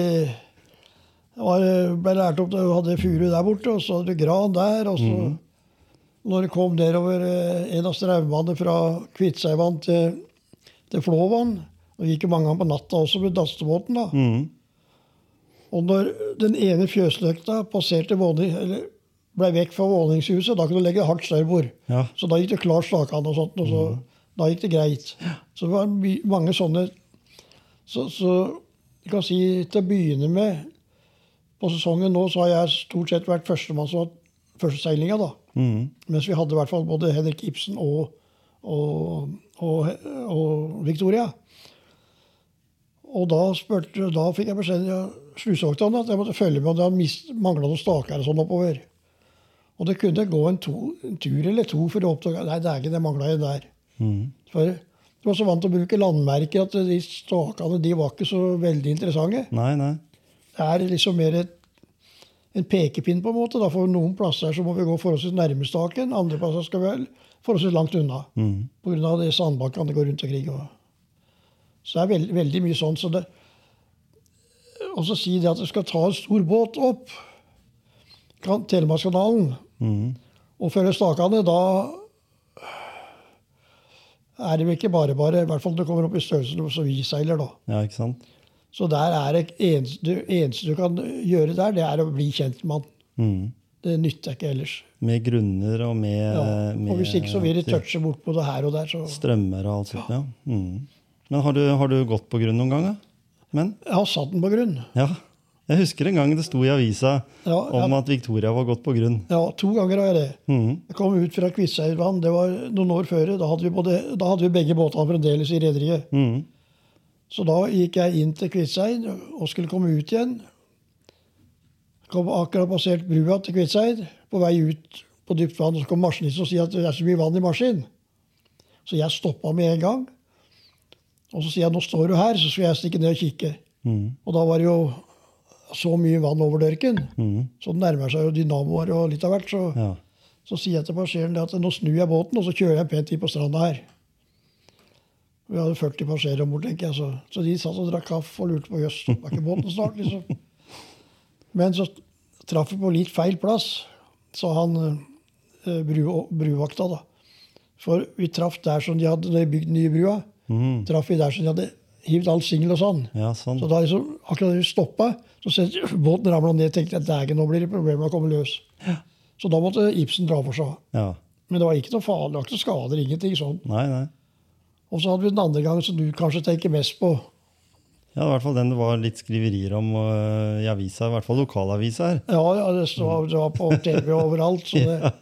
[SPEAKER 3] det var, ble lært opp til å ha furu der borte, og så hadde vi gran der. Og så, når det kom nedover eh, en av straumene fra Kviteseidvann til, til Flåvann Det gikk jo mange ganger på natta også med dastebåten. da.
[SPEAKER 1] mm.
[SPEAKER 3] Og når den ene fjøsløkta passerte våning, eller ble vekk fra våningshuset, da kunne du legge hardt størbord.
[SPEAKER 1] Ja.
[SPEAKER 3] Så da gikk det klart slakan og sånt, og så, da gikk det greit. Så det var my mange sånne Så, så jeg kan si til å begynne med På sesongen nå så har jeg stort sett vært førstemann som har hatt førsteseilinga, da.
[SPEAKER 1] Mm.
[SPEAKER 3] Mens vi hadde i hvert fall både Henrik Ibsen og, og, og, og Victoria. Og da, spurte, da fikk jeg beskjed av slusevokterne at jeg måtte følge med om det hadde mangla noen staker og sånn oppover. Og det kunne gå en, to, en tur eller to for å oppdage Nei, det er ikke det mangla en der.
[SPEAKER 1] Mm.
[SPEAKER 3] For du var så vant til å bruke landmerker at de stakene de var ikke så veldig interessante.
[SPEAKER 1] Nei, nei.
[SPEAKER 3] Det er liksom mer et, en pekepinn, på en måte. Da. For noen plasser så må vi gå forholdsvis nærme staken, andre plasser skal vi forholdsvis langt unna.
[SPEAKER 1] Mm.
[SPEAKER 3] Pga. de sandbankene det går rundt omkring. Og. Så det er veld, veldig mye sånn. Så det, og så si det at du skal ta en stor båt opp kan- Telemarkskanalen
[SPEAKER 1] Mm.
[SPEAKER 3] og følge stakene, da er det vel ikke bare bare. I hvert fall når du kommer opp i størrelsen som vi seiler, da.
[SPEAKER 1] Ja, ikke sant?
[SPEAKER 3] Så der er det eneste, det eneste du kan gjøre der, det er å bli kjent med han.
[SPEAKER 1] Mm.
[SPEAKER 3] Det nytter ikke ellers.
[SPEAKER 1] Med grunner og med,
[SPEAKER 3] Ja.
[SPEAKER 1] Eh, med
[SPEAKER 3] Og hvis ikke så vil de touche bortpå det her og der. Så.
[SPEAKER 1] Strømmer og alt sånt, ja. Mm. Men har du, har du gått på grunn noen gang, da? Men,
[SPEAKER 3] Jeg har satt den på grunn.
[SPEAKER 1] ja. Jeg husker en gang det sto i avisa
[SPEAKER 3] Ja,
[SPEAKER 1] om
[SPEAKER 3] ja,
[SPEAKER 1] at Victoria var gått på grunn.
[SPEAKER 3] ja, to ganger har jeg det.
[SPEAKER 1] Mm.
[SPEAKER 3] Jeg kom ut fra Kviteseidvann, det var noen år før. Da hadde vi, både, da hadde vi begge båtene fremdeles i rederiet.
[SPEAKER 1] Mm.
[SPEAKER 3] Så da gikk jeg inn til Kviteseid og skulle komme ut igjen. Kom akkurat passert brua til Kviteseid, på vei ut på dypt vann. Så kom maskinisten og sier at det er så mye vann i maskinen. Så jeg stoppa med en gang. Og så sier jeg nå står du her, så skal jeg stikke ned og kikke.
[SPEAKER 1] Mm.
[SPEAKER 3] Og da var det jo så mye vann over dørken.
[SPEAKER 1] Mm.
[SPEAKER 3] Så det nærmer seg jo dynamoer og litt av hvert. Så
[SPEAKER 1] Ja.
[SPEAKER 3] så sier jeg til passasjeren det at nå snur jeg båten, og så kjører jeg pent inn på stranda her. Vi hadde 40 passasjerer om bord, tenker jeg. Så, så de satt og drakk kaffe og lurte på jøss, var ikke båten snart, liksom. Men så traff vi på litt feil plass, sa han eh, bru, bruvakta, da. For vi traff der som de hadde når de bygde den nye brua.
[SPEAKER 1] Mm.
[SPEAKER 3] Traff vi der som de hadde hivd all singel og sånn.
[SPEAKER 1] ja, sånn.
[SPEAKER 3] Så da liksom, akkurat da vi stoppa, så ser- båten ramla ned. tenkte jeg, Dægen, nå blir det problemer med å komme løs. Så da måtte Ibsen dra for seg.
[SPEAKER 1] Ja.
[SPEAKER 3] Men det var ikke noe farlig, det var ikke noe skader, ingenting sånn.
[SPEAKER 1] Nei, nei.
[SPEAKER 3] Og så hadde vi den andre gangen som du kanskje tenker mest på.
[SPEAKER 1] Ja, i hvert fall den det var litt skriverier om øh, i avisa, i hvert fall lokalavisa her.
[SPEAKER 3] Ja, ja det, stod, det var på TV overalt. Så det,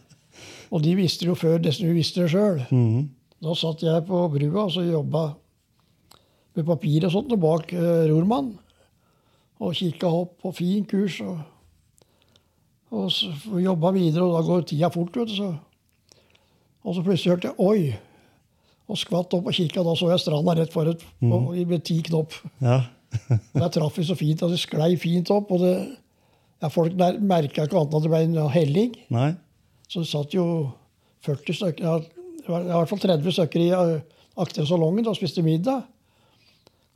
[SPEAKER 3] Og de visste det jo før nesten vi visste det sjøl.
[SPEAKER 1] Mhm.
[SPEAKER 3] Da satt jeg på brua og så jobba med papir og sånt og bak eh, rormann. Og kikka opp på fin kurs. Og, og så jobba videre, og da går tida fort. vet du. Så. Og så plutselig hørte jeg 'oi', og skvatt opp og kikka. Da så jeg stranda rett for et, og, med ti knopp.
[SPEAKER 1] Ja.
[SPEAKER 3] Og Der traff vi så fint, og det sklei fint opp. og det, ja, Folk merka ikke annet enn at det ble en helling.
[SPEAKER 1] Nei.
[SPEAKER 3] Så det satt jo 40 stykker, ja, det var i hvert fall 30 stykker i eh, aktive salongen da, og spiste middag.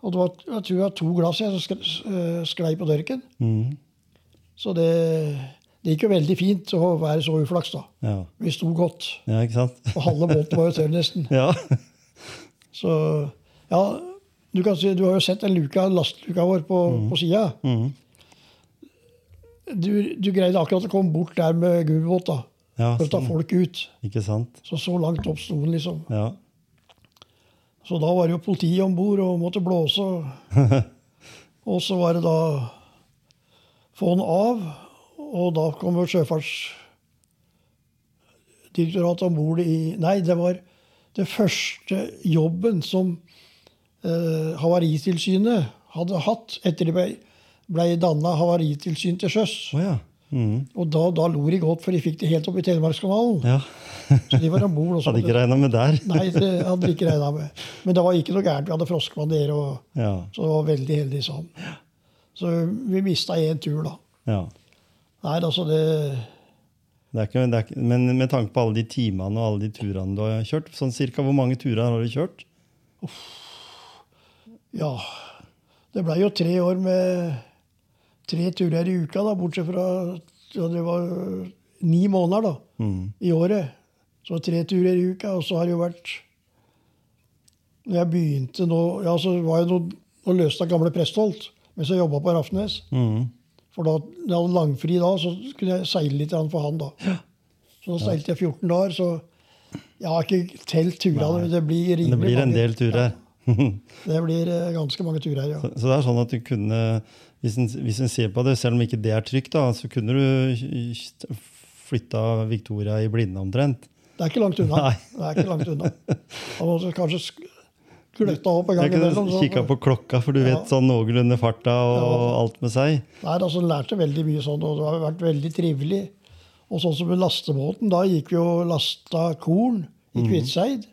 [SPEAKER 3] Og det var jeg tror jeg var to glass jeg som sk- eh, sklei på dørken.
[SPEAKER 1] Mhm.
[SPEAKER 3] Så det, det gikk jo veldig fint å være så uflaks, da.
[SPEAKER 1] Ja.
[SPEAKER 3] Vi sto godt.
[SPEAKER 1] ja, ikke sant?
[SPEAKER 3] Og halve båten var jo tørr, nesten.
[SPEAKER 1] Ja.
[SPEAKER 3] Så ja, du kan si, du har jo sett den luka, lastluka vår på, på sida.
[SPEAKER 1] Mhm.
[SPEAKER 3] Du, du greide akkurat å komme bort der med gummibåt da,
[SPEAKER 1] ja
[SPEAKER 3] for å ta
[SPEAKER 1] sånn.
[SPEAKER 3] folk ut.
[SPEAKER 1] Ikke sant?
[SPEAKER 3] Så så langt opp sto den, liksom.
[SPEAKER 1] Ja.
[SPEAKER 3] Så da var det jo politiet om bord og måtte blåse. og- Og så var det da få den av, og da kom jo Sjøfartsdirektoratet om bord i Nei, det var det første jobben som eh, Havaritilsynet hadde hatt etter de ble, ble danna havaritilsyn til sjøs.
[SPEAKER 1] Å ja. Mhm.
[SPEAKER 3] Og da, da lo de godt, for de fikk det helt opp i Telemarkskanalen.
[SPEAKER 1] Ja.
[SPEAKER 3] Så de var om bord.
[SPEAKER 1] Hadde ikke regna med der.
[SPEAKER 3] Nei, det hadde vi ikke regna med. Men det var ikke noe gærent. Vi hadde froskemanderer, og
[SPEAKER 1] Ja.
[SPEAKER 3] så det var veldig heldig sånn. Så vi mista én tur, da.
[SPEAKER 1] ja.
[SPEAKER 3] Nei, altså det
[SPEAKER 1] Det er ikke, det er ikke, men med tanke på alle de timene og alle de turene du har kjørt, sånn cirka hvor mange turer har du kjørt?
[SPEAKER 3] Ja. Det blei jo tre år med tre turer i uka, da, bortsett fra ja, Det var ni måneder da,
[SPEAKER 1] Mhm.
[SPEAKER 3] i året. Så tre turer i uka, og så har det jo vært Når jeg begynte nå ja, så var jeg noe, og løste av gamle Prestholt mens jeg jobba på Rafnes.
[SPEAKER 1] Mhm.
[SPEAKER 3] For da når jeg hadde langfri da, så kunne jeg seile litt grann for han. da. Så da seilte jeg 14 dager, så jeg har ikke telt turene. men Det blir
[SPEAKER 1] Men
[SPEAKER 3] rimelig
[SPEAKER 1] Det blir en
[SPEAKER 3] mange.
[SPEAKER 1] del turer.
[SPEAKER 3] Det blir eh, ganske mange turer, ja.
[SPEAKER 1] Så så det er sånn at du kunne, hvis en, hvis en ser på det, selv om ikke det er trygt, da, så kunne du flytta Victoria i blinde omtrent.
[SPEAKER 3] Det er ikke langt unna.
[SPEAKER 1] Nei.
[SPEAKER 3] Det er ikke langt unna. Man må kanskje sk- gløtta opp en
[SPEAKER 1] Jeg
[SPEAKER 3] gang imellom.
[SPEAKER 1] kunne
[SPEAKER 3] så-
[SPEAKER 1] kikka på klokka, for du
[SPEAKER 3] sånn, Ja.
[SPEAKER 1] vet sånn noenlunde farta og alt med seg.
[SPEAKER 3] Nei, altså lærte veldig mye sånn, og det har vært veldig trivelig. Og sånn som med lastebåten, da gikk vi og lasta korn
[SPEAKER 1] Mhm.
[SPEAKER 3] i Kviteseid.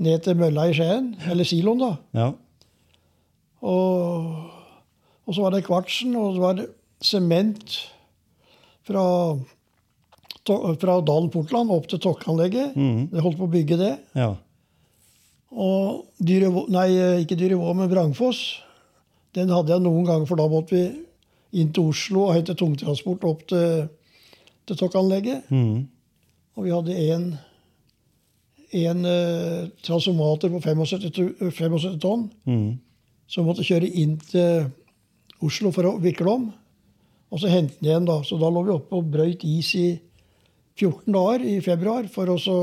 [SPEAKER 3] Ned til mølla i Skien, eller siloen, da.
[SPEAKER 1] Ja.
[SPEAKER 3] Og, og så var det kvartsen, og det var sement fra, to- fra Dalen Portland opp til Tokkanlegget.
[SPEAKER 1] Mhm.
[SPEAKER 3] De holdt på å bygge det.
[SPEAKER 1] ja.
[SPEAKER 3] Og Dyrevå, nei, ikke Dyrevå, men Vrangfoss. Den hadde jeg noen ganger, for da måtte vi inn til Oslo og hente tungtransport opp til, til Tokkanlegget.
[SPEAKER 1] Mhm.
[SPEAKER 3] Og vi hadde én en, eh, transformator på 75, tu- 75 tonn
[SPEAKER 1] Mhm.
[SPEAKER 3] som måtte kjøre inn til Oslo for å vikle om. Og så hente den igjen, da. Så da lå vi oppe og brøyt is i 14 dager i februar for å så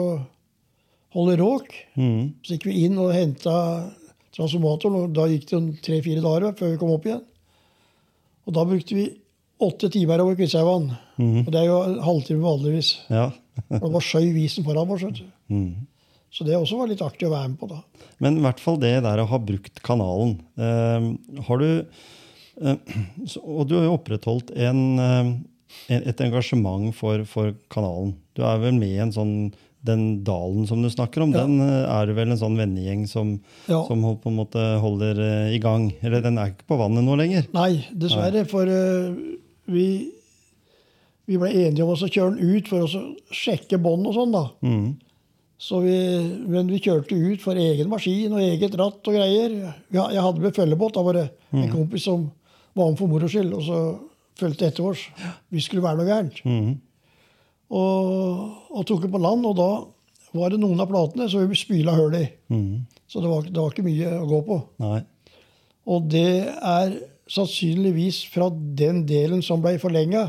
[SPEAKER 3] holde råk.
[SPEAKER 1] Mhm.
[SPEAKER 3] Så gikk vi inn og henta transformatoren, og da gikk det tre-fire dager før vi kom opp igjen. Og da brukte vi åtte timer over Kvitshaugan. Og det er jo en halvtime vanligvis.
[SPEAKER 1] ja.
[SPEAKER 3] Og det var skjøv isen foran oss. vet du.
[SPEAKER 1] Mhm.
[SPEAKER 3] Så det også var litt artig å være med på da.
[SPEAKER 1] Men i hvert fall det der å ha brukt kanalen. Eh, har du eh, så, Og du har jo opprettholdt en, eh, en, et engasjement for, for kanalen. Du er vel med i en sånn den dalen som du snakker om,
[SPEAKER 3] Ja.
[SPEAKER 1] den eh, er det vel en sånn vennegjeng som,
[SPEAKER 3] Ja.
[SPEAKER 1] som hol- på en måte holder eh, i gang? Eller den er ikke på vannet nå lenger?
[SPEAKER 3] Nei, dessverre. For eh, vi, vi ble enige om oss å kjøre den ut for oss å sjekke bånd og sånn, da.
[SPEAKER 1] Mhm.
[SPEAKER 3] Så vi, men vi kjørte ut for egen maskin og eget ratt og greier. Ja, jeg hadde med følgebåt. Da var det en kompis som var med for moro skyld, og så fulgte etter oss. Vi skulle være noe gærent.
[SPEAKER 1] Mhm.
[SPEAKER 3] Og, og tok det på land, og da var det noen av platene så vi spyla hull i.
[SPEAKER 1] Mhm.
[SPEAKER 3] Så det var, det var ikke mye å gå på.
[SPEAKER 1] Nei.
[SPEAKER 3] Og det er sannsynligvis fra den delen som ble forlenga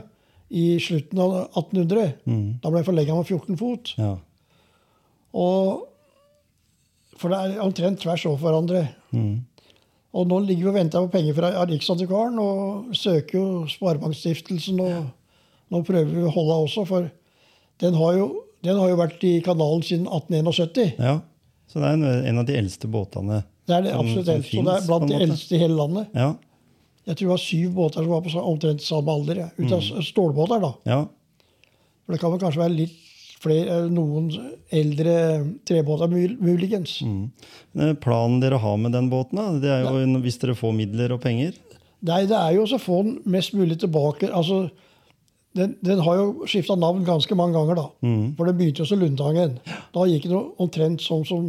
[SPEAKER 3] i slutten av 1800.
[SPEAKER 1] Mhm.
[SPEAKER 3] Da ble forlenga med 14 fot.
[SPEAKER 1] Ja.
[SPEAKER 3] Og, for det er omtrent tvers over hverandre.
[SPEAKER 1] Mhm.
[SPEAKER 3] Og nå ligger vi og venter på penger fra Riksantikvaren og søker jo Sparebankstiftelsen. Og nå prøver vi å holde også, for den har jo, den har jo vært i kanalen siden 1871.
[SPEAKER 1] Ja. Så det er en, en av de eldste båtene.
[SPEAKER 3] Det er det
[SPEAKER 1] Som-
[SPEAKER 3] absolutt
[SPEAKER 1] som
[SPEAKER 3] eldste, og det
[SPEAKER 1] finnes,
[SPEAKER 3] er
[SPEAKER 1] på en
[SPEAKER 3] blant de
[SPEAKER 1] måte.
[SPEAKER 3] eldste i hele landet.
[SPEAKER 1] Ja.
[SPEAKER 3] Jeg tror det var syv båter som var på sa- omtrent samme alder. Ja. Ut av s- stålbåter, da.
[SPEAKER 1] ja.
[SPEAKER 3] For det kan vel kanskje være litt flere, noen eldre trebåter, mul- muligens.
[SPEAKER 1] Eh, Planen dere har med den båten, da, det er jo en- hvis dere får midler og penger.
[SPEAKER 3] Nei, det er jo også å få den mest mulig tilbake. Altså, den, den har jo skifta navn ganske mange ganger, da. For den begynte jo som Lundtangen. Da gikk den jo omtrent sånn som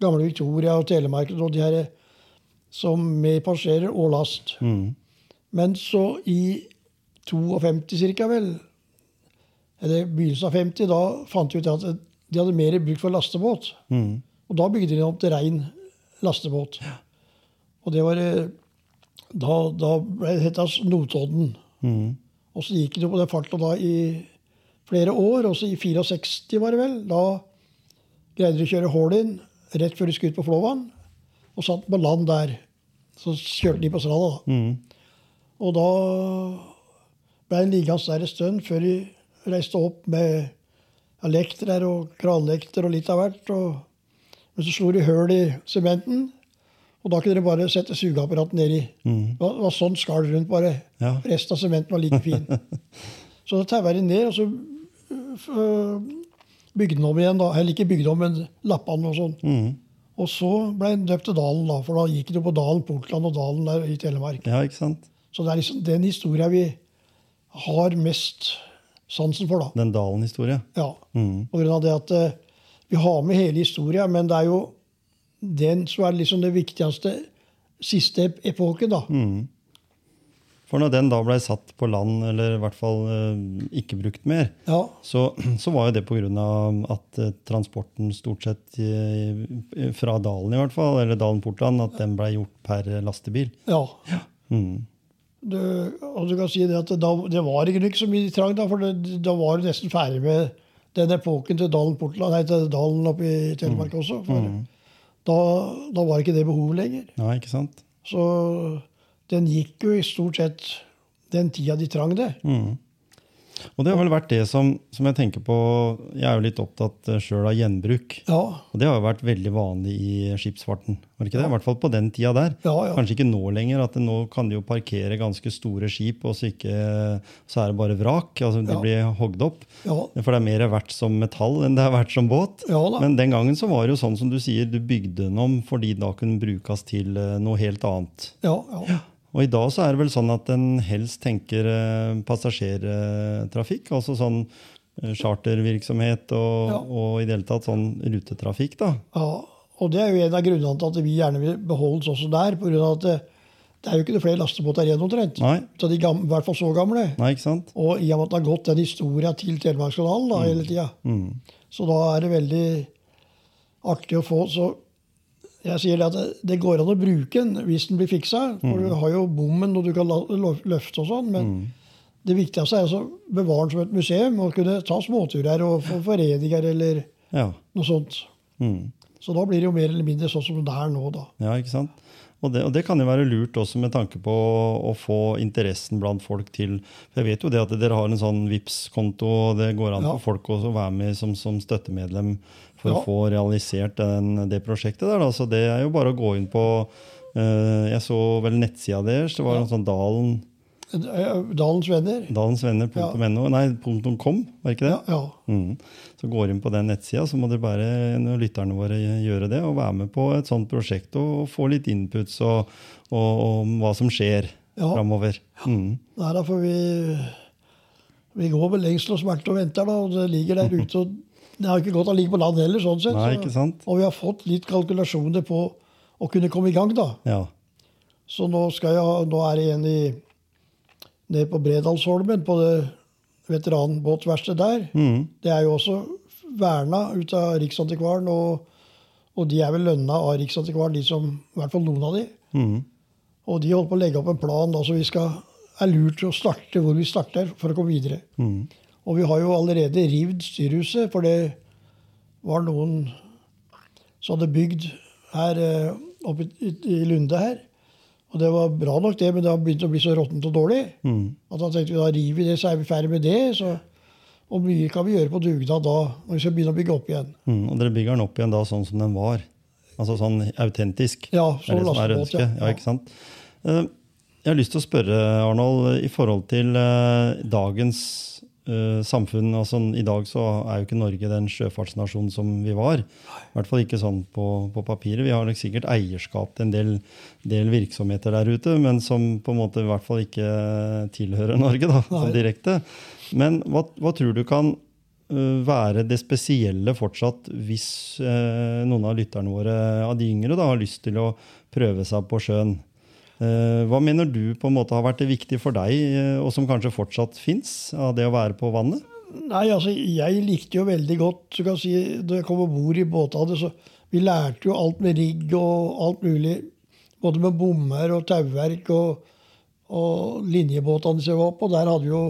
[SPEAKER 3] gamle Victoria og Telemark og de her som med passasjerer og last. Men så i 52 ca., vel, eller begynnelsen av 50, da fant de ut at de hadde mer bruk for lastebåt. Og da bygde de den om til rein lastebåt. Og det var eh, da, da ble det hett Notodden.
[SPEAKER 1] Mm.
[SPEAKER 3] Og så gikk det jo på den farten da i flere år. Og så i 64 var det vel. Da greide de å kjøre hull inn rett før de skulle ut på Flåvann. Og satt på land der. Så kjørte de på stranda, da. Og da ble den liggende der en stund før de reiste opp med ja, lekter og kranlekter og litt av hvert. Og, men så slo de høl i sementen. Og da kunne dere bare sette sugeapparatet nedi. Det var- det var sånn skall rundt, bare.
[SPEAKER 1] Ja.
[SPEAKER 3] Resten av sementen var like fin. så da taua de ned, og så øh, bygde den om igjen. da. Eller ikke bygde om, men lappa den og sånn. Og så ble den døpt til Dalen, da, for da gikk det jo på Dalen, Portland og Dalen der i Telemark.
[SPEAKER 1] Ja, ikke sant?
[SPEAKER 3] Så det er liksom den historia vi har mest sansen for, da.
[SPEAKER 1] Den Dalen-historia.
[SPEAKER 3] Ja, på grunn av det at eh, vi har med hele historia, men det er jo den som er liksom det viktigste siste ep- epoken, da.
[SPEAKER 1] For når den da blei satt på land, eller i hvert fall eh, ikke brukt mer,
[SPEAKER 3] Ja,
[SPEAKER 1] så, så var jo det pga. at eh, transporten stort sett eh, fra Dalen, i hvert fall, eller Dalen-Portland, at den blei gjort per lastebil.
[SPEAKER 3] ja. Du, og du kan si det at da, det var ikke så mye trang, da, for det, da var du nesten ferdig med den epoken til Dalen, Portland, nei, til Dalen oppe i Telemark også. For da, da var ikke det behovet lenger.
[SPEAKER 1] Ja, ikke sant?
[SPEAKER 3] Så den gikk jo i stort sett den tida de trang det.
[SPEAKER 1] Mm. Og det har vel vært det som, som jeg tenker på Jeg er jo litt opptatt sjøl av gjenbruk.
[SPEAKER 3] Ja,
[SPEAKER 1] Og det har jo vært veldig vanlig i skipsfarten. var det ikke det? I hvert fall på den tida der.
[SPEAKER 3] Ja, ja.
[SPEAKER 1] Kanskje ikke nå lenger. at det- Nå kan de jo parkere ganske store skip, og så, ikke, så er det bare vrak. altså De
[SPEAKER 3] Ja.
[SPEAKER 1] blir hogd opp.
[SPEAKER 3] ja,
[SPEAKER 1] For det er mer verdt som metall enn det er verdt som båt.
[SPEAKER 3] ja da.
[SPEAKER 1] Men den gangen så var det jo sånn som du sier, du bygde den om fordi da kunne den brukes til eh, noe helt annet.
[SPEAKER 3] Ja, ja.
[SPEAKER 1] Og i dag så er det vel sånn at en helst tenker eh, passasjertrafikk, altså sånn eh, chartervirksomhet og,
[SPEAKER 3] Ja.
[SPEAKER 1] og i det hele tatt sånn rutetrafikk, da.
[SPEAKER 3] ja. Og det er jo en av grunnene til at vi gjerne vil beholde oss også der. På grunn av at det, det er jo ikke noe flere lastebåter igjen omtrent.
[SPEAKER 1] Nei,
[SPEAKER 3] Ut av de gamle, I hvert fall så gamle.
[SPEAKER 1] nei ikke sant?
[SPEAKER 3] Og i og med at det har gått den historia til Telemarkskanalen
[SPEAKER 1] Mm.
[SPEAKER 3] da, hele tida. Så da er det veldig artig å få. Så jeg sier det at det, det går an å bruke den hvis den blir fiksa. For du har jo bommen, og du kan la, lo- løfte og sånn. men Det viktigste er altså å bevare den som et museum og kunne ta småturer og få foreninger eller
[SPEAKER 1] Ja.
[SPEAKER 3] noe sånt.
[SPEAKER 1] Mm.
[SPEAKER 3] Så da blir det jo mer eller mindre sånn som det er nå, da.
[SPEAKER 1] Ja, ikke sant? Og det, og det kan jo være lurt også med tanke på å, å få interessen blant folk til For jeg vet jo det at dere har en sånn vips konto og det går an
[SPEAKER 3] Ja.
[SPEAKER 1] for folk også å være med som, som støttemedlem for
[SPEAKER 3] Ja.
[SPEAKER 1] å få realisert den, det prosjektet der. Da. Så det er jo bare å gå inn på eh, Jeg så vel nettsida deres. Det var
[SPEAKER 3] Ja.
[SPEAKER 1] en sånn dalen,
[SPEAKER 3] Eh, Dalens venner.
[SPEAKER 1] dalensvenner.no Nei, punktum .com, var ikke det?
[SPEAKER 3] Ja, ja.
[SPEAKER 1] Mm. Så går inn på den nettsida, så må dere bare når lytterne våre gjøre det og være med på et sånt prosjekt og, og få litt inputs og, og, om hva som skjer
[SPEAKER 3] Ja.
[SPEAKER 1] framover. Mm.
[SPEAKER 3] Nei da, for vi, vi går med lengsel og smerte og venter, da. Og det ligger der ute. Og det har ikke godt å ligge på land heller, sånn sett.
[SPEAKER 1] Nei,
[SPEAKER 3] så-
[SPEAKER 1] ikke sant?
[SPEAKER 3] Og vi har fått litt kalkulasjoner på å kunne komme i gang, da.
[SPEAKER 1] Ja.
[SPEAKER 3] Så nå, skal jeg, ha- nå er jeg igjen i, nede på Bredalsholmen, på det veteranbåtverkstedet der.
[SPEAKER 1] Mm.
[SPEAKER 3] Det er jo også verna ut av Riksantikvaren, og, og de er vel lønna av Riksantikvaren, de som, i hvert fall noen av de.
[SPEAKER 1] Mm.
[SPEAKER 3] Og de holder på å legge opp en plan da, så vi skal er lurt å starte hvor vi starter for å komme videre.
[SPEAKER 1] Mm.
[SPEAKER 3] Og vi har jo allerede rivd styrhuset, for det var noen som hadde bygd her eh, oppe i, i Lunde her. Og det var bra nok, det, men det har begynt å bli så råttent og dårlig.
[SPEAKER 1] Mm.
[SPEAKER 3] At da tenkte vi da river vi det, så er vi ferdig med det. Så, og mye kan vi gjøre på dugnad da, når vi skal begynne å bygge opp igjen.
[SPEAKER 1] Mm. Og dere bygger den opp igjen da sånn som den var. Altså sånn autentisk.
[SPEAKER 3] Ja,
[SPEAKER 1] Det er
[SPEAKER 3] som
[SPEAKER 1] det som er
[SPEAKER 3] lastebåt.
[SPEAKER 1] ønsket. Ja, ikke sant? Eh, Jeg har lyst til å spørre, Arnold, i forhold til eh, dagens eh, samfunn. og sånn, I dag så er jo ikke Norge den sjøfartsnasjonen som vi var. I hvert fall ikke sånn på, på papiret. Vi har nok sikkert eierskap til en del, del virksomheter der ute, men som på en måte i hvert fall ikke tilhører Norge da, sånn
[SPEAKER 3] Nei.
[SPEAKER 1] direkte. Men hva, hva tror du kan øh, være det spesielle fortsatt hvis øh, noen av lytterne våre, av de yngre, da, har lyst til å prøve seg på sjøen? Eh, hva mener du på en måte har vært det viktige for deg, eh, og som kanskje fortsatt fins, av det å være på vannet?
[SPEAKER 3] Nei, altså, jeg likte jo veldig godt så kan jeg si, Da jeg kom om bord i båtene, så vi lærte jo alt med rigg og alt mulig. Både med bommer og tauverk og, og linjebåtene som jeg var på. Der hadde vi jo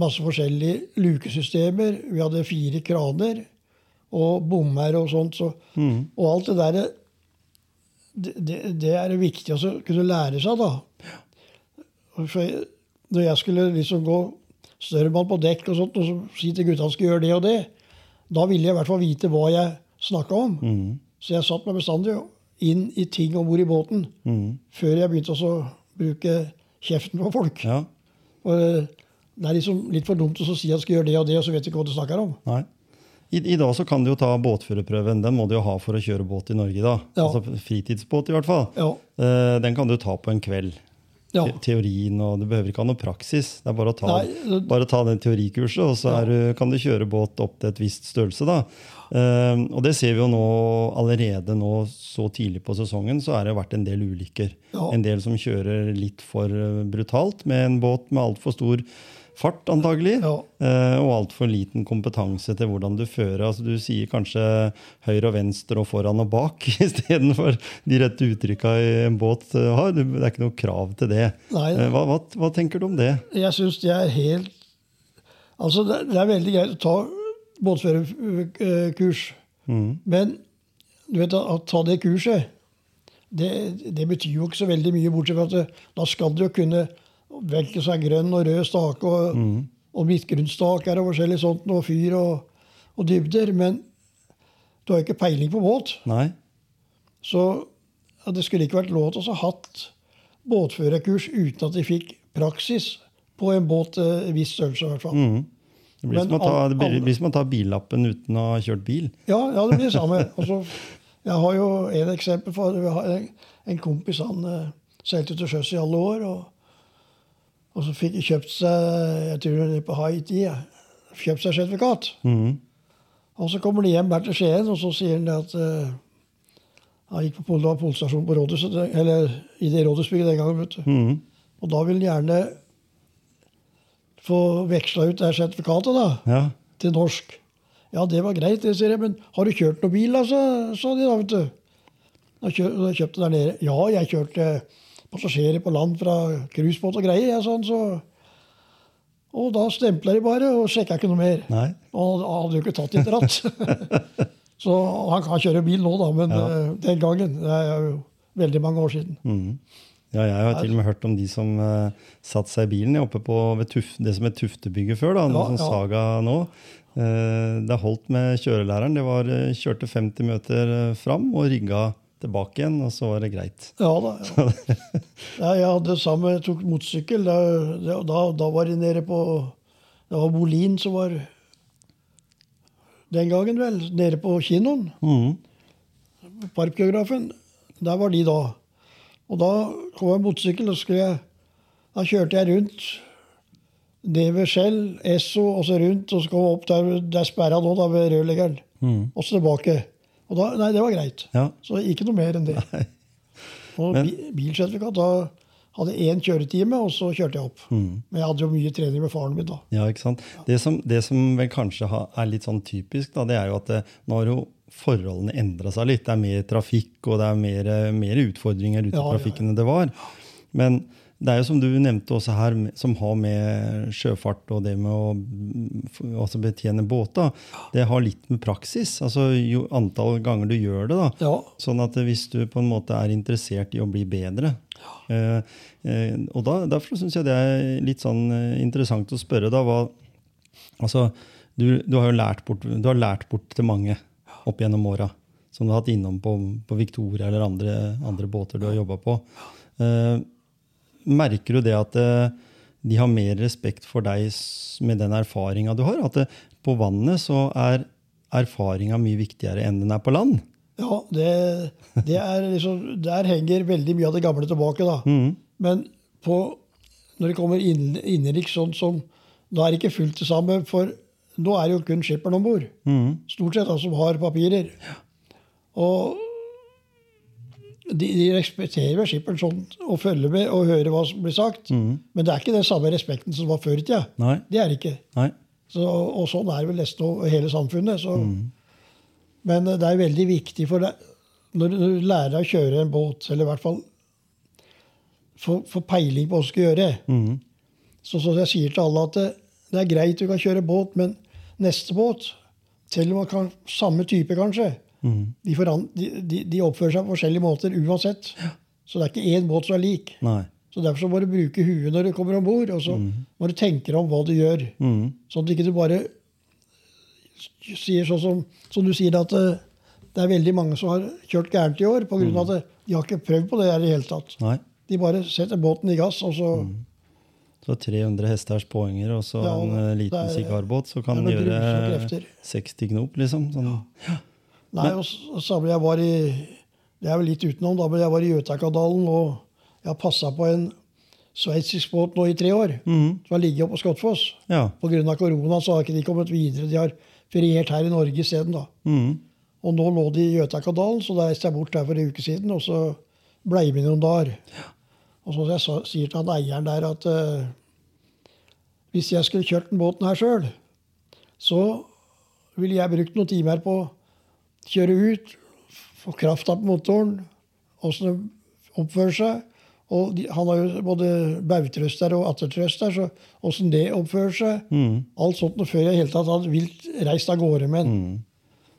[SPEAKER 3] masse forskjellige lukesystemer. Vi hadde fire kraner og bommer og sånt. Så, Og alt det der det, det, det er det viktig å kunne lære seg, da. Og For jeg, når jeg skulle liksom gå størremann på dekk og sånt, og så si til gutta at jeg skulle gjøre det og det, da ville jeg i hvert fall vite hva jeg snakka om.
[SPEAKER 1] Mm.
[SPEAKER 3] Så jeg satte meg bestandig inn i ting om bord i båten
[SPEAKER 1] mm.
[SPEAKER 3] før jeg begynte også å bruke kjeften på folk.
[SPEAKER 1] Ja,
[SPEAKER 3] Og eh, det er liksom litt for dumt å så si at jeg skal gjøre det og det, og så vet du ikke hva du snakker om.
[SPEAKER 1] nei. I, I dag så kan du jo ta båtførerprøven. Den må du jo ha for å kjøre båt i Norge i dag.
[SPEAKER 3] Ja.
[SPEAKER 1] Altså fritidsbåt, i hvert fall.
[SPEAKER 3] Ja,
[SPEAKER 1] Eh, den kan du ta på en kveld.
[SPEAKER 3] ja.
[SPEAKER 1] Te- Teorien og Du behøver ikke ha noe praksis. Det er bare å ta,
[SPEAKER 3] Nei, det-
[SPEAKER 1] bare ta den teorikurset, og så er, du- kan du kjøre båt opp til et visst størrelse. Da. Eh, og det ser vi jo nå allerede nå så tidlig på sesongen, så har det vært en del ulykker.
[SPEAKER 3] Ja.
[SPEAKER 1] En del som kjører litt for eh, brutalt med en båt med altfor stor fart, antagelig.
[SPEAKER 3] Ja.
[SPEAKER 1] Eh, og altfor liten kompetanse til hvordan du fører. Altså, du sier kanskje høyre og venstre og foran og bak istedenfor de rette uttrykka en båt eh, har. Det er ikke noe krav til det.
[SPEAKER 3] Nei.
[SPEAKER 1] Eh, Hva, hva, hva tenker du om det?
[SPEAKER 3] Jeg syns det er helt Altså, det, det er veldig greit å ta båtførerkurs. Men du vet, å ta det kurset, det, det betyr jo ikke så veldig mye, bortsett fra at det, da skal du jo kunne velge seg grønn og rød stake, og, og midtgrunnsstaker og forskjellig sånt, og fyr og, og dybder. Men du har jo ikke peiling på båt.
[SPEAKER 1] Nei?
[SPEAKER 3] Så ja, det skulle ikke vært lov til å ha hatt båtførerkurs uten at de fikk praksis på en båt eh, en viss størrelse, i hvert fall.
[SPEAKER 1] Det blir,
[SPEAKER 3] Men
[SPEAKER 1] som å, ta,
[SPEAKER 3] al-
[SPEAKER 1] det blir,
[SPEAKER 3] alle-
[SPEAKER 1] blir som å ta billappen uten å ha kjørt bil.
[SPEAKER 3] Ja, ja, det blir det samme. Og så- jeg har jo et eksempel. for vi har en, en kompis han eh, seilte til sjøs i alle år. Og, og så fikk kjøpt seg jeg tror det er på Haiti, ja, kjøpt seg sertifikat.
[SPEAKER 1] Mhm.
[SPEAKER 3] Og så kommer de hjem her til Skien, og så sier han det at eh, han gikk på pol- det var polstasjon på rådhuset, det- eller i det rådhusbygget den gangen. vet du.
[SPEAKER 1] Mhm.
[SPEAKER 3] Og da vil han gjerne få veksla ut det her sertifikatet da,
[SPEAKER 1] Ja.
[SPEAKER 3] til norsk. Ja, det var greit, det, sier jeg, men har du kjørt noen bil, da, så- sa de da, vet du. Da kjø- da kjøpte jeg der nede. Ja, jeg kjørte passasjerer på land fra cruisebåt og greier, jeg, sa han, så. Og da stempla de bare og sjekka ikke noe mer.
[SPEAKER 1] Nei.
[SPEAKER 3] Og han hadde jo ikke tatt i et ratt. så han kan kjøre bil nå, da, men
[SPEAKER 1] Ja.
[SPEAKER 3] eh, den gangen Det er jo veldig mange år siden.
[SPEAKER 1] Mhm. Ja, jeg har til og med hørt om de som uh, satte seg i bilen ja, oppe på ved Tuf, det som het Tuftebygget før, da,
[SPEAKER 3] Ja,
[SPEAKER 1] noe sånn
[SPEAKER 3] ja.
[SPEAKER 1] Saga nå. Eh, det holdt med kjørelæreren. Det var, eh, kjørte 50 meter eh, fram og rygga tilbake igjen, og så var det greit.
[SPEAKER 3] Ja da. Ja. Ja, jeg hadde samme, tok motorsykkel. Da, det- da, da var jeg nede på Det var Bolin som var Den gangen, vel. Nede på kinoen.
[SPEAKER 1] Mhm.
[SPEAKER 3] Parkgeografen. Der var de da. Og da kom jeg motorsykkel, og så skulle jeg Da kjørte jeg rundt. Ned ved Skjell, Esso, og så rundt. Og så kom jeg opp der det er sperra nå, da, ved rørleggeren. Og så tilbake. Og da, nei, det var greit.
[SPEAKER 1] Mm. Ja.
[SPEAKER 3] Så ikke noe mer enn det. Og
[SPEAKER 1] Men-
[SPEAKER 3] bi- bilsertifikat da hadde jeg én kjøretime, og så kjørte jeg opp.
[SPEAKER 1] Mm.
[SPEAKER 3] Men jeg hadde jo mye trening med faren min da.
[SPEAKER 1] Ja, ikke sant? Det som, det som vel kanskje ha- er litt sånn typisk, da, det er jo at det, nå har jo forholdene endra seg litt. Det er mer trafikk, og det er mer, eh, mer utfordringer ute i
[SPEAKER 3] Ja, ja,
[SPEAKER 1] trafikken enn det var. Men det er jo som du nevnte også her, med- som har med sjøfart og det med å mm, f- altså betjene båter, det har litt med praksis. Altså jo antall ganger du gjør det, da.
[SPEAKER 3] Ja,
[SPEAKER 1] Sånn at hvis du på en måte er interessert i å bli bedre, Eh, eh, og da, derfor syns jeg det er litt sånn eh, interessant å spørre, da. Hva, altså, du, du har jo lært bort, du har lært bort til mange opp gjennom åra. Som du har hatt innom på, på Victoria eller andre, andre båter du har jobba på. Eh, merker du det at eh, de har mer respekt for deg s- med den erfaringa du har? At det, på vannet så er erfaringa mye viktigere enn den er på land?
[SPEAKER 3] Ja, det, det er liksom, Der henger veldig mye av det gamle tilbake. da. Men på, når det kommer inn, innenriks sånn som Da er det ikke fullt det samme, for nå er det jo kun skipperen om bord. Stort sett, da, som har papirer. Og de, de respekterer vel skipperen sånn, og følger med og hører hva som blir sagt. Men det er ikke den samme respekten som var før i tida.
[SPEAKER 1] Nei.
[SPEAKER 3] Det er det ikke.
[SPEAKER 1] Nei.
[SPEAKER 3] Så, og sånn er det vel nesten over hele samfunnet. Så. Men eh, det er veldig viktig for deg når du når du lærer deg å kjøre en båt, eller i hvert fall få få peiling på hva du skal gjøre.
[SPEAKER 1] Mhm.
[SPEAKER 3] Så, så jeg sier til alle at det, det er greit du kan kjøre båt, men neste båt, selv om man kan samme type kanskje, de, foran, de, de, de oppfører seg på forskjellige måter uansett. Så det er ikke én båt som er lik.
[SPEAKER 1] Nei.
[SPEAKER 3] Så Derfor så må du bruke huet når du kommer om bord, og så må du tenke deg om hva du gjør.
[SPEAKER 1] Mhm.
[SPEAKER 3] Sånn at ikke du bare sier sånn som, som du sier at eh, det er veldig mange som har kjørt gærent i år pga. grunn av at de har ikke prøvd på det her i det hele tatt.
[SPEAKER 1] Nei.
[SPEAKER 3] De bare setter båten i gass, og så
[SPEAKER 1] Så 300 hesters poenger og så
[SPEAKER 3] Ja,
[SPEAKER 1] en eh, liten
[SPEAKER 3] det er-
[SPEAKER 1] sigarbåt, så kan
[SPEAKER 3] det
[SPEAKER 1] den
[SPEAKER 3] er noen grusomme
[SPEAKER 1] gjøre
[SPEAKER 3] krefter.
[SPEAKER 1] 60 knop, liksom. Sånn.
[SPEAKER 3] Nei, og s- og samme jeg var i Det er vel litt utenom, da, men jeg var i Gjøtakadalen, og jeg har passa på en sveitsisk båt nå i tre år, som har ligget oppe på Skottfoss.
[SPEAKER 1] Ja.
[SPEAKER 3] Pga. korona så har ikke de kommet videre. De har feriert her i Norge isteden. da.
[SPEAKER 1] Mhm.
[SPEAKER 3] Og nå lå de i Gjøtakadalen, så da reiste jeg bort der for en uke siden. Og så blei vi noen dager. Og så jeg sa- sier til han eieren der at eh, hvis jeg skulle kjørt den båten her sjøl, så ville jeg brukt noen timer på å kjøre ut, få krafta på motoren, åssen den oppfører seg. Og de, han har jo både bautrøster og attertrøster, så åssen det oppfører seg. Alt sånt noe før jeg i hele tatt hadde vilt reist av gårde med den.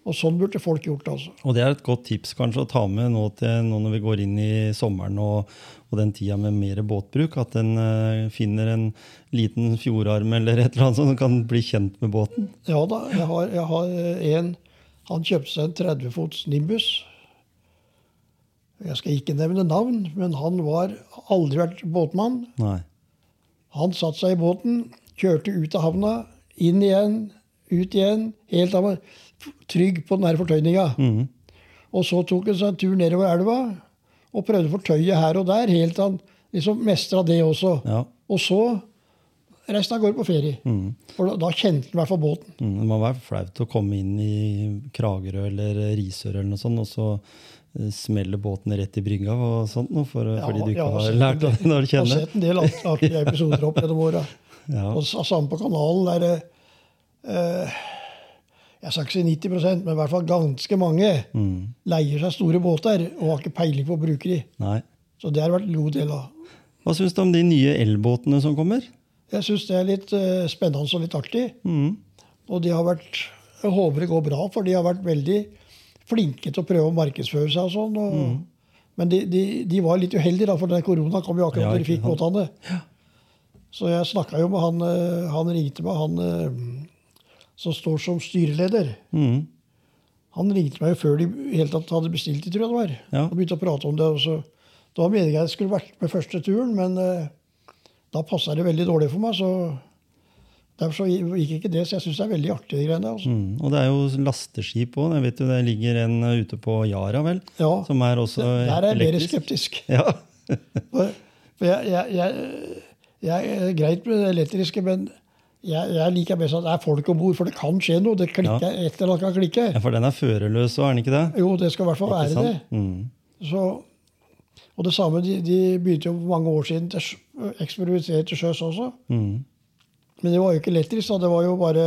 [SPEAKER 3] Og sånn burde folk gjort, altså.
[SPEAKER 1] Og det er et godt tips kanskje å ta med nå, til, nå når vi går inn i sommeren og, og den tida med mer båtbruk, at en eh, finner en liten fjordarm eller et eller annet sånt som kan bli kjent med båten.
[SPEAKER 3] Ja da, jeg har, jeg har eh, en Han kjøpte seg en 30 fots Nimbus. Jeg skal ikke nevne navn, men han var aldri vært båtmann.
[SPEAKER 1] Nei.
[SPEAKER 3] Han satte seg i båten, kjørte ut av havna, inn igjen, ut igjen. Helt av trygg på den her fortøyninga. Og så tok han seg en tur nedover elva og prøvde å fortøye her og der, helt til han liksom mestra det også.
[SPEAKER 1] Ja.
[SPEAKER 3] Og så reiste han av gårde på ferie. For da, da kjente han i hvert fall båten.
[SPEAKER 1] Mm, Det må være flaut å komme inn i Kragerø eller Risør eller noe sånt, og så eh, smeller båten rett i brygga og sånt noe, for, fordi du
[SPEAKER 3] jeg
[SPEAKER 1] ikke
[SPEAKER 3] har
[SPEAKER 1] har
[SPEAKER 3] sett
[SPEAKER 1] lært
[SPEAKER 3] en
[SPEAKER 1] det
[SPEAKER 3] del-
[SPEAKER 1] når du
[SPEAKER 3] Jeg
[SPEAKER 1] kjenner.
[SPEAKER 3] har sett en del art- artige episoder opp gjennom åra.
[SPEAKER 1] Ja.
[SPEAKER 3] Og s- samme på kanalen der eh, eh, Jeg skal ikke si 90 men i hvert fall ganske mange
[SPEAKER 1] Mm.
[SPEAKER 3] leier seg store båter og har ikke peiling på å bruke de.
[SPEAKER 1] Nei.
[SPEAKER 3] Så det har vært en god del av.
[SPEAKER 1] Hva syns du om de nye elbåtene som kommer?
[SPEAKER 3] Jeg syns det er litt eh, spennende og litt artig.
[SPEAKER 1] Mm.
[SPEAKER 3] Og de har vært Jeg håper det går bra, for de har vært veldig flinke til å prøve å markedsføre seg og sånn. Og,
[SPEAKER 1] Mm.
[SPEAKER 3] Men de, de, de var litt uheldige, da, for den korona kom jo akkurat
[SPEAKER 1] Ja,
[SPEAKER 3] da de
[SPEAKER 1] ikke
[SPEAKER 3] fikk båtene. Så jeg snakka jo med han eh, Han ringte meg, han eh, som står som styreleder.
[SPEAKER 1] Mm.
[SPEAKER 3] Han ringte meg jo før de i hele tatt hadde bestilt det, tror jeg det var.
[SPEAKER 1] Ja.
[SPEAKER 3] Og begynte å prate om det. Og så, det var meningen jeg skulle vært med første turen, men eh, da passa det veldig dårlig for meg. så... Derfor så gikk ikke det, så jeg syns det er veldig artig. de greiene der, altså.
[SPEAKER 1] Mm. Og det er jo lasteskip òg. Jeg vet jo det ligger en eh, ute på Yara, vel?
[SPEAKER 3] Ja,
[SPEAKER 1] Som er også
[SPEAKER 3] der er jeg mer
[SPEAKER 1] elektrisk.
[SPEAKER 3] skeptisk.
[SPEAKER 1] Ja.
[SPEAKER 3] For for jeg, jeg, jeg, jeg er greit med det elektriske, men jeg, jeg liker best at det er folk om bord, for det kan skje noe. Det klikker, Et eller annet kan klikke.
[SPEAKER 1] ja, for den er førerløs òg, er den ikke det?
[SPEAKER 3] Jo, det skal i hvert fall
[SPEAKER 1] Ikke
[SPEAKER 3] være det.
[SPEAKER 1] sant? Mm.
[SPEAKER 3] Så, og det samme, de, de begynte jo for mange år siden til sjø- eksperimentere til sjøs også.
[SPEAKER 1] Mm.
[SPEAKER 3] Men det var jo ikke elektrisk, da. Det var jo bare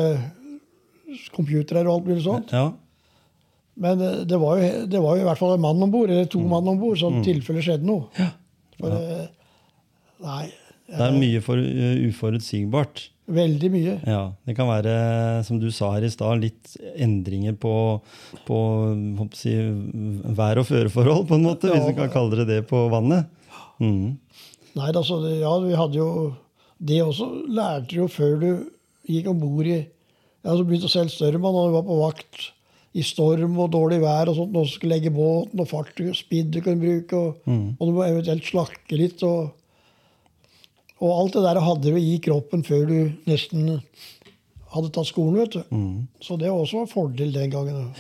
[SPEAKER 3] computere og alt mulig sånn. sånt.
[SPEAKER 1] Ja.
[SPEAKER 3] Men eh, det var, jo, det var jo i hvert fall en mann om bord, eller to mann om bord, så i tilfelle skjedde noe. For, eh, Nei.
[SPEAKER 1] Det er mye for uh, uforutsigbart.
[SPEAKER 3] Veldig mye.
[SPEAKER 1] Ja, Det kan være, som du sa her i stad, litt endringer på, på håper jeg å si, vær- og føreforhold, på en måte, hvis
[SPEAKER 3] Ja.
[SPEAKER 1] vi kan kalle det det på vannet. Mm.
[SPEAKER 3] Nei, altså, det- ja, vi hadde jo Det også lærte du jo før du gikk om bord i Ja, så begynte selv størremann, og du var på vakt i storm og dårlig vær og sånt, og skulle legge båten, og fart og spidd du kunne bruke, og, og du må eventuelt slakke litt, og Og alt det der hadde du i kroppen før du nesten hadde tatt skolen, vet du. Så det også var en fordel den gangen.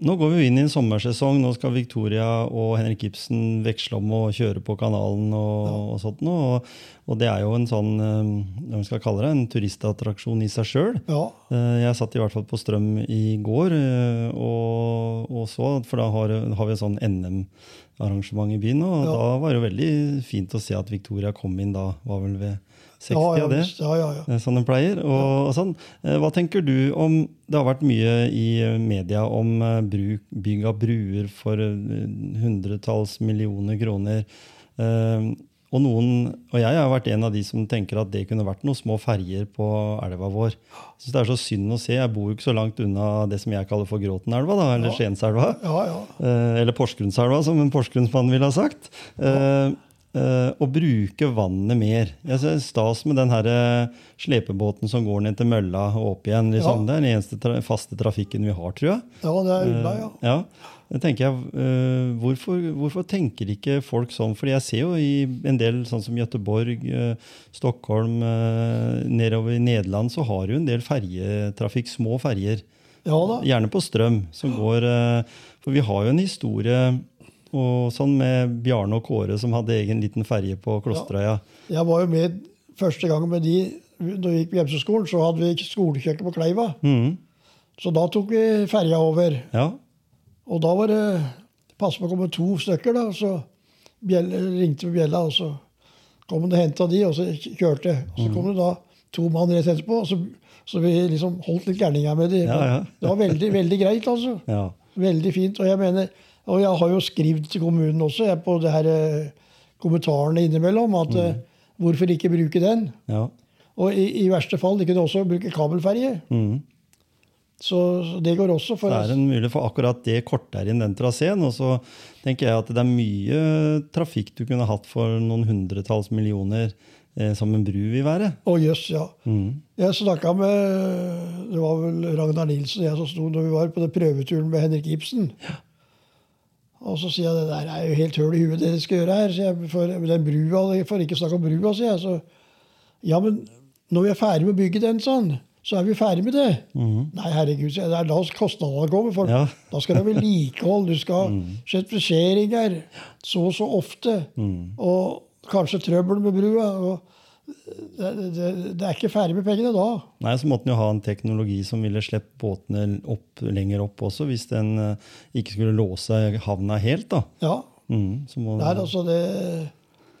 [SPEAKER 1] Nå går vi jo inn i en sommersesong. Nå skal Victoria og Henrik Ibsen veksle om å kjøre på kanalen og, og sånt noe. Og, og det er jo en sånn, eh, hva man skal kalle det, en turistattraksjon i seg sjøl.
[SPEAKER 3] Ja.
[SPEAKER 1] Eh, Jeg satt i hvert fall på Strøm i går eh, og, og så, for da har, har vi et sånn NM-arrangement i byen. Og
[SPEAKER 3] Ja.
[SPEAKER 1] da var det jo veldig fint å se at Victoria kom inn da, var vel ved 60
[SPEAKER 3] Ja, ja,
[SPEAKER 1] av det.
[SPEAKER 3] visst. ja, ja, ja.
[SPEAKER 1] eh, Som den pleier. Og, og sånn. Eh, Hva tenker du om Det har vært mye i media om eh, bruk, bygg av bruer for eh, hundretalls millioner kroner. Eh, Og noen, og jeg har vært en av de som tenker at det kunne vært noen små ferger på elva vår. Jeg synes det er så synd å se. Jeg bor jo ikke så langt unna det som jeg kaller for Gråtenelva, da, eller Skienselva.
[SPEAKER 3] ja, ja.
[SPEAKER 1] Eh, eller Porsgrunnselva, som en porsgrunnsmann ville ha sagt. Eh, eh, å bruke vannet mer. Jeg ser stas med den her, eh, slepebåten som går ned til mølla og opp igjen. Liksom.
[SPEAKER 3] Ja.
[SPEAKER 1] Det er den eneste tra faste trafikken vi har, tror jeg.
[SPEAKER 3] Ja, det er
[SPEAKER 1] Eh,
[SPEAKER 3] unna, ja.
[SPEAKER 1] Ja, det tenker jeg, eh, hvorfor, hvorfor tenker ikke folk sånn? Fordi jeg ser jo i en del, sånn som Gøteborg, eh, Stockholm, eh, nedover i Nederland, så har jo en del ferjetrafikk, små ferjer.
[SPEAKER 3] Ja da.
[SPEAKER 1] Gjerne på strøm, som går eh, For vi har jo en historie og sånn med Bjarne og Kåre som hadde egen liten ferje på Klosterøya.
[SPEAKER 3] Jeg var jo med første gang med de Da vi gikk på hjemseskolen, så hadde vi skolekjøkken på Kleiva.
[SPEAKER 1] Mhm,
[SPEAKER 3] Så da tok vi ferja over.
[SPEAKER 1] ja.
[SPEAKER 3] Og da var det passe på å komme to stykker, da. Så bjelle, ringte på bjella, og så kom det og henta de, og så kjørte. Og
[SPEAKER 1] Mm.
[SPEAKER 3] så kom det da to mann rett etterpå, og så, så vi liksom holdt litt gærninger med de.
[SPEAKER 1] Ja, ja.
[SPEAKER 3] Det var veldig, veldig greit, altså.
[SPEAKER 1] ja.
[SPEAKER 3] Veldig fint. Og jeg mener, og jeg har jo skrevet til kommunen også jeg, på det her eh, kommentarene innimellom at eh,
[SPEAKER 1] Mm.
[SPEAKER 3] hvorfor ikke bruke den?
[SPEAKER 1] ja.
[SPEAKER 3] Og i, i verste fall, de kunne også bruke kabelferje.
[SPEAKER 1] mhm.
[SPEAKER 3] Så det går også. for
[SPEAKER 1] Det er en mulighet for akkurat det korter inn den traseen. Og så tenker jeg at det er mye trafikk du kunne hatt for noen hundretalls millioner eh, som en bru vil være.
[SPEAKER 3] Å, jøss, ja.
[SPEAKER 1] Mhm.
[SPEAKER 3] Jeg snakka med det var vel Ragnar Nilsen og jeg som sto når vi var på den prøveturen med Henrik Ibsen. Og så sier jeg det der er jo helt høl i huet det dere skal gjøre her. sier jeg, for den brua, For ikke snakke om brua, sier jeg. Så, ja, men når vi er ferdig med å bygge den, sånn, så er vi ferdig med det. Nei, herregud, sier jeg, det er da kostnadene kommer. For
[SPEAKER 1] Ja.
[SPEAKER 3] da skal det ha vedlikehold, du skal ha sertifisering her så og så ofte. Og kanskje trøbbel med brua. og det, det, det er ikke ferdig med pengene da.
[SPEAKER 1] Nei, så måtte en jo ha en teknologi som ville slippe båtene opp, lenger opp også, hvis den eh, ikke skulle låse havna helt. da.
[SPEAKER 3] Ja,
[SPEAKER 1] Mhm, så må,
[SPEAKER 3] det er altså det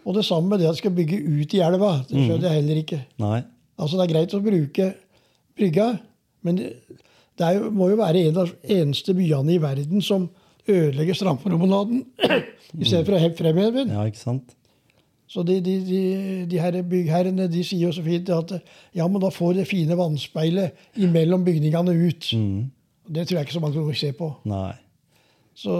[SPEAKER 3] Og det samme med det at skal bygge ut i elva. Det skjønner jeg heller ikke.
[SPEAKER 1] Nei.
[SPEAKER 3] Altså Det er greit å bruke brygga, men det det er jo, må jo være en av de eneste byene i verden som ødelegger strandpromenaden i stedet for å heve fremheven.
[SPEAKER 1] Ja, ikke sant?
[SPEAKER 3] Så de, de, de, de her byggherrene de sier jo så fint at ja, men da får det fine vannspeilet imellom bygningene ut. Det tror jeg ikke så mange vil se på.
[SPEAKER 1] Nei.
[SPEAKER 3] Så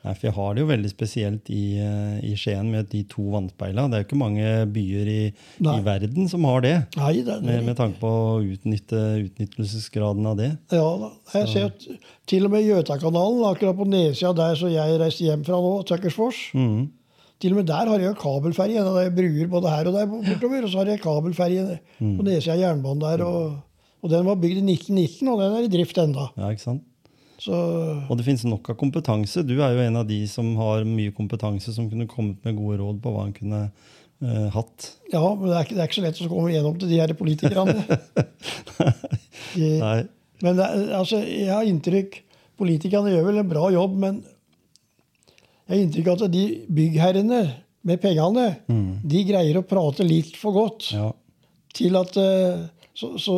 [SPEAKER 1] Nei, for jeg har det jo veldig spesielt i, eh, i Skien med de to vannspeila. Det er jo ikke mange byer i, i
[SPEAKER 3] Nei.
[SPEAKER 1] verden som har det,
[SPEAKER 3] Nei, det,
[SPEAKER 1] med, med
[SPEAKER 3] det,
[SPEAKER 1] tanke på å utnytte utnyttelsesgraden av det.
[SPEAKER 3] ja, da. jeg ser at til og med Gjøtakanalen, akkurat på nedsida der som jeg reiste hjem fra nå, Tøkkersfors
[SPEAKER 1] Mhm.
[SPEAKER 3] Til og med der har de jo kabelferje. Det er bruer både her og der bortover. Og så har de kabelferje på nedsida av jernbanen der. Og, og den var bygd i 1919, og den er i drift enda.
[SPEAKER 1] Ja, ikke sant?
[SPEAKER 3] Så
[SPEAKER 1] Og det finnes nok av kompetanse. Du er jo en av de som har mye kompetanse, som kunne kommet med gode råd på hva en kunne eh, hatt.
[SPEAKER 3] ja, men det er, ikke, det er ikke så lett å komme gjennom til de her politikerne. De,
[SPEAKER 1] Nei.
[SPEAKER 3] Men det, er- altså, jeg har inntrykk Politikerne gjør vel en bra jobb, men jeg har inntrykk av at de byggherrene med pengene, de greier å prate litt for godt
[SPEAKER 1] Mm. Ja.
[SPEAKER 3] til at eh, Så, så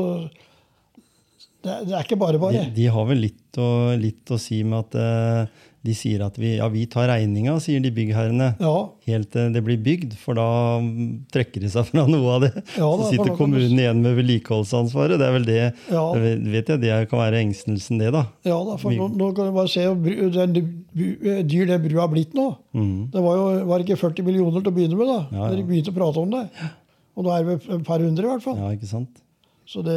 [SPEAKER 3] det, er- det er ikke bare
[SPEAKER 1] De,
[SPEAKER 3] bare.
[SPEAKER 1] de har vel litt å, litt å si med at eh, De sier at vi, ja, vi tar regninga, sier de byggherrene.
[SPEAKER 3] Ja,
[SPEAKER 1] Helt til det blir bygd, for da mm, trekker de seg fra noe av det.
[SPEAKER 3] Ja,
[SPEAKER 1] så
[SPEAKER 3] da, for
[SPEAKER 1] sitter
[SPEAKER 3] da kan du-
[SPEAKER 1] kommunen igjen med vedlikeholdsansvaret. Det er vel det,
[SPEAKER 3] ja,
[SPEAKER 1] det vet jeg, det kan være engstelsen, det, da.
[SPEAKER 3] ja da, for nå, nå kan du bare se hvor bru- den bu- eh, dyr den brua er blitt nå.
[SPEAKER 1] Mm.
[SPEAKER 3] Det var jo var det ikke 40 millioner til å begynne med da
[SPEAKER 1] Ja, ja.
[SPEAKER 3] når de begynte å prate om det. Og nå er det et par hundre, i hvert fall.
[SPEAKER 1] Ja, ikke sant?
[SPEAKER 3] Så det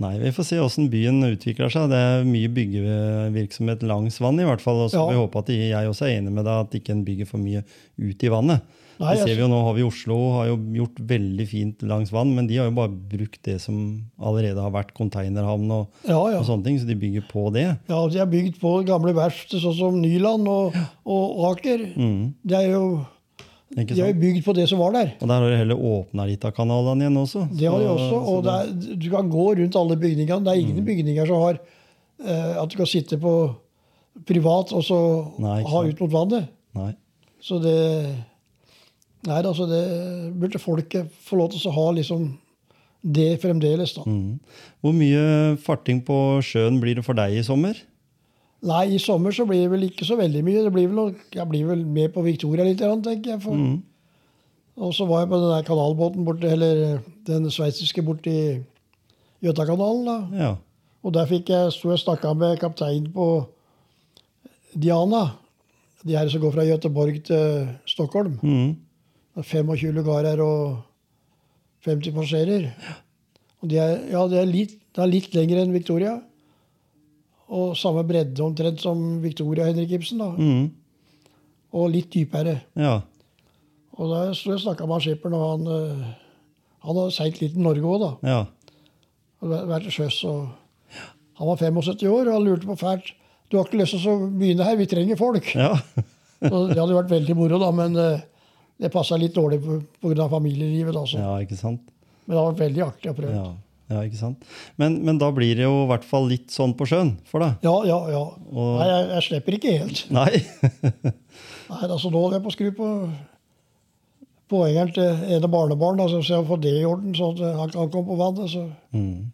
[SPEAKER 1] Nei, vi får se åssen byen utvikler seg. Det er mye byggevirksomhet langs vann, i hvert fall. Og så får
[SPEAKER 3] Ja.
[SPEAKER 1] vi håpe at jeg også er enig med deg at ikke en bygger for mye ut i vannet.
[SPEAKER 3] Nei,
[SPEAKER 1] det
[SPEAKER 3] jeg-
[SPEAKER 1] ser vi jo nå, har vi Oslo har jo gjort veldig fint langs vann, men de har jo bare brukt det som allerede har vært konteinerhavn og,
[SPEAKER 3] Ja, ja.
[SPEAKER 1] og sånn. sånne ting, så de bygger på det.
[SPEAKER 3] Ja, De er bygd på gamle verft, sånn som Nyland og, og Aker.
[SPEAKER 1] Mm,
[SPEAKER 3] Det er jo,
[SPEAKER 1] ikke
[SPEAKER 3] de er jo
[SPEAKER 1] sant?
[SPEAKER 3] bygd på det som var der.
[SPEAKER 1] Og der har de heller åpna litt av kanalene igjen også.
[SPEAKER 3] Det har de
[SPEAKER 1] Så-
[SPEAKER 3] også.
[SPEAKER 1] så Mm.
[SPEAKER 3] Og det er, du kan gå rundt alle bygningene. Det er ingen bygninger som har eh, at du kan sitte på privat og så
[SPEAKER 1] Nei, ikke
[SPEAKER 3] ha
[SPEAKER 1] sant.
[SPEAKER 3] ut mot vannet.
[SPEAKER 1] Nei.
[SPEAKER 3] Så det Nei, altså det burde folket få lov til å ha liksom det fremdeles, da.
[SPEAKER 1] Mm. Hvor mye farting på sjøen blir det for deg i sommer?
[SPEAKER 3] Nei, i sommer så blir det vel ikke så veldig mye. Det blir vel, nok- jeg blir vel med på Victoria litt, grann, tenker jeg. For,
[SPEAKER 1] Mm.
[SPEAKER 3] Og så var jeg på den der kanalbåten borte, eller den sveitsiske borti Gjøtakanalen, da.
[SPEAKER 1] Ja.
[SPEAKER 3] Og der fikk jeg, sto jeg og snakka med kapteinen på Diana. De her som går fra Gøteborg til Stockholm.
[SPEAKER 1] Mm.
[SPEAKER 3] Det er 25 lugarer og 50 passasjerer. Og de er, ja, det er, litt, det er litt lengre enn Victoria. Og samme bredde omtrent som Victoria Henrik Ibsen. da.
[SPEAKER 1] Mm.
[SPEAKER 3] Og litt dypere.
[SPEAKER 1] Ja.
[SPEAKER 3] Og der sto jeg og snakka med han skipperen, og han, eh, han hadde seilt litt i Norge òg, da.
[SPEAKER 1] Ja.
[SPEAKER 3] og væ- vært til sjøs. Og han var 75 år og han lurte på fælt. Du har ikke lyst til å begynne her, vi trenger folk.
[SPEAKER 1] ja.
[SPEAKER 3] Så det hadde vært veldig moro, da, men eh, det passa litt dårlig pga. familielivet. Da, så.
[SPEAKER 1] Ja, ikke sant?
[SPEAKER 3] Men det har vært veldig artig å prøve.
[SPEAKER 1] Ja, ja ikke sant? Men, men da blir det jo i hvert fall litt sånn på sjøen for deg.
[SPEAKER 3] Ja, ja, ja.
[SPEAKER 1] Og-
[SPEAKER 3] Nei, jeg, jeg slipper ikke helt.
[SPEAKER 1] Nei.
[SPEAKER 3] Nei, altså Nå holder jeg på å skru på poengeren til ene barnebarn, altså, så jeg får det i orden, sånn at han kan komme på vannet. så...
[SPEAKER 1] Mm.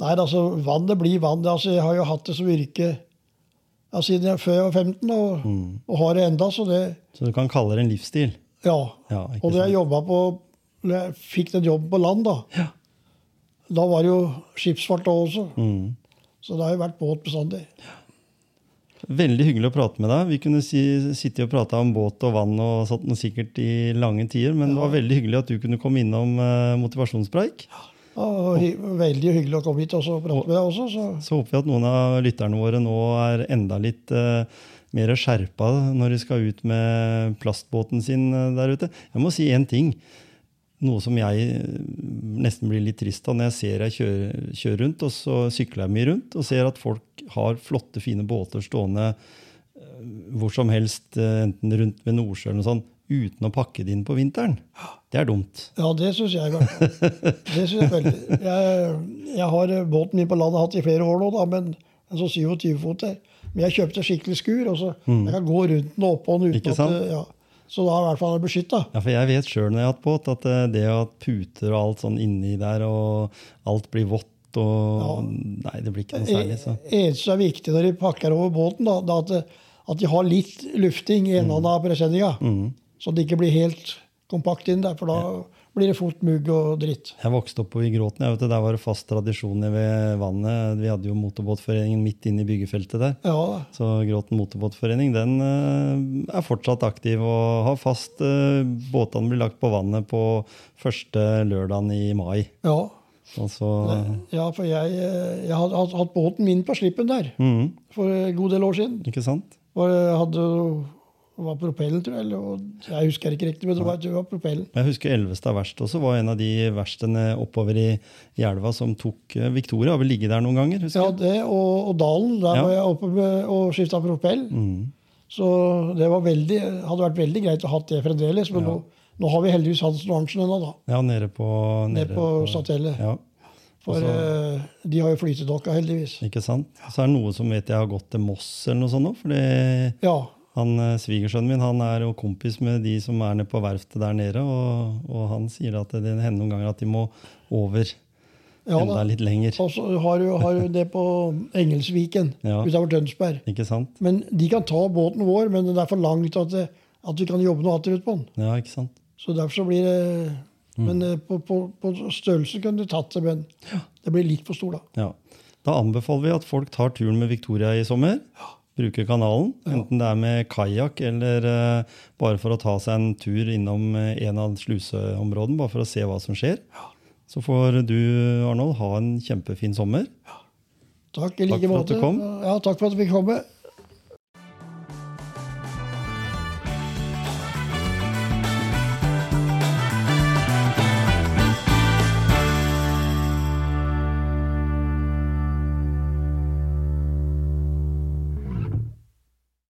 [SPEAKER 3] Nei, altså, vannet blir vann. Altså, jeg har jo hatt det som yrke ja, siden jeg, før jeg var 15, og,
[SPEAKER 1] Mm.
[SPEAKER 3] og har det enda, så det
[SPEAKER 1] Så du kan kalle det en livsstil.
[SPEAKER 3] Ja.
[SPEAKER 1] Ja, ikke
[SPEAKER 3] og da jeg
[SPEAKER 1] sant?
[SPEAKER 3] jobba på Når jeg fikk den jobben på land, da,
[SPEAKER 1] Ja.
[SPEAKER 3] da var det jo skipsfart da også.
[SPEAKER 1] Mm.
[SPEAKER 3] Så det har jo vært båt bestandig.
[SPEAKER 1] Veldig hyggelig å prate med deg. Vi kunne si, sitte og prate om båt og vann og sånt noe sikkert i lange tider, men det var veldig hyggelig at du kunne komme innom eh, motivasjonspreik.
[SPEAKER 3] Ja, og hy veldig hyggelig å komme hit og så prate med deg også. Så.
[SPEAKER 1] Så håper vi at noen av lytterne våre nå er enda litt eh, mer skjerpa når de skal ut med plastbåten sin eh, der ute. Jeg må si én ting. Noe som jeg eh, nesten blir litt trist av når jeg ser jeg kjører, kjører rundt, og så sykler jeg mye rundt, og ser at folk har flotte, fine båter stående eh, hvor som helst, eh, enten rundt ved Nordsjøen og sånn, uten å pakke det inn på vinteren. Det er dumt.
[SPEAKER 3] Ja, det syns jeg i hvert fall. Det synes jeg veldig. Jeg, jeg har eh, båten min på landet hatt i flere år nå, da, men en sånn 27 fot der. Men jeg kjøpte skikkelig skur, og så jeg kan gå rundt den og oppå den
[SPEAKER 1] Mm. Ikke
[SPEAKER 3] uten at
[SPEAKER 1] sant?
[SPEAKER 3] det- ja. Så da er jeg i hvert fall beskytta.
[SPEAKER 1] Ja, for jeg vet sjøl når jeg har hatt båt, at eh, det at puter og alt sånn inni der, og alt blir vått og Nei, det blir ikke
[SPEAKER 3] Eh,
[SPEAKER 1] noe særlig. Så.
[SPEAKER 3] Det E-, eneste som er viktig når de pakker over båten, da, det er at, det- at de har litt lufting i
[SPEAKER 1] Mm.
[SPEAKER 3] enden av presenninga. Så det ikke blir helt kompakt inn der, for da blir det fort mugg og dritt.
[SPEAKER 1] Jeg vokste opp på i Gråten. Jeg vet, det, der var det fast tradisjon nede ved vannet. Vi hadde jo motorbåtforeningen midt inne i byggefeltet der.
[SPEAKER 3] Ja,
[SPEAKER 1] Så Gråten motorbåtforening den eh, er fortsatt aktiv og har fast eh, Båtene blir lagt på vannet på første lørdagen i mai. Altså,
[SPEAKER 3] ja.
[SPEAKER 1] Og så
[SPEAKER 3] ja for jeg, eh, jeg hadde hatt- hatt båten min på slippen der
[SPEAKER 1] Mhm,
[SPEAKER 3] for en god del år siden.
[SPEAKER 1] Ikke sant?
[SPEAKER 3] Hvor jeg hadde jo- det var propellen, tror jeg. Eller, og jeg husker ikke riktig, men det var, det var propellen.
[SPEAKER 1] Jeg husker Elvestad verst også var en av de verstene oppover i, i elva som tok eh, Victoria. Har vel ligget der noen ganger? husker
[SPEAKER 3] Ja,
[SPEAKER 1] jeg.
[SPEAKER 3] det og, og Dalen. Der
[SPEAKER 1] Ja.
[SPEAKER 3] var jeg oppe med, og skifta propell.
[SPEAKER 1] Mm.
[SPEAKER 3] Så det var veldig, hadde vært veldig greit å ha det fremdeles. Men
[SPEAKER 1] Ja.
[SPEAKER 3] nå, nå har vi heldigvis Hansen og Arntzen ennå, da.
[SPEAKER 1] ja, nede på
[SPEAKER 3] Ned på Statellet.
[SPEAKER 1] Ja, altså-
[SPEAKER 3] For eh, de har jo flytedokka, heldigvis.
[SPEAKER 1] ikke sant? Så er det noe som vet jeg har gått til Moss eller noe sånt nå, fordi
[SPEAKER 3] Ja.
[SPEAKER 1] han, eh, svigersønnen min han er jo kompis med de som er nede på verftet der nede, og, og han sier at det hender noen ganger at de må over.
[SPEAKER 3] Ja
[SPEAKER 1] enda
[SPEAKER 3] da.
[SPEAKER 1] litt lenger.
[SPEAKER 3] Og så har du, har du det på Engelsviken
[SPEAKER 1] Ja.
[SPEAKER 3] utover Tønsberg.
[SPEAKER 1] Ikke sant?
[SPEAKER 3] Men de kan ta båten vår, men den er for langt at, det, at vi kan jobbe noe atterut på den.
[SPEAKER 1] Ja, ikke sant?
[SPEAKER 3] Så derfor så blir det Men
[SPEAKER 1] Mm.
[SPEAKER 3] eh, på, på, på størrelse kunne du tatt det, men det blir litt for stor, da.
[SPEAKER 1] Ja. Da anbefaler vi at folk tar turen med Victoria i sommer. Bruker kanalen, enten det er med kajakk eller eh, bare for å ta seg en tur innom eh, en av sluseområdene, bare for å se hva som skjer. Så får du, Arnold, ha en kjempefin sommer.
[SPEAKER 3] Takk i
[SPEAKER 1] Takk
[SPEAKER 3] like
[SPEAKER 1] for at
[SPEAKER 3] måte.
[SPEAKER 1] du kom.
[SPEAKER 3] Ja, takk for at vi fikk komme.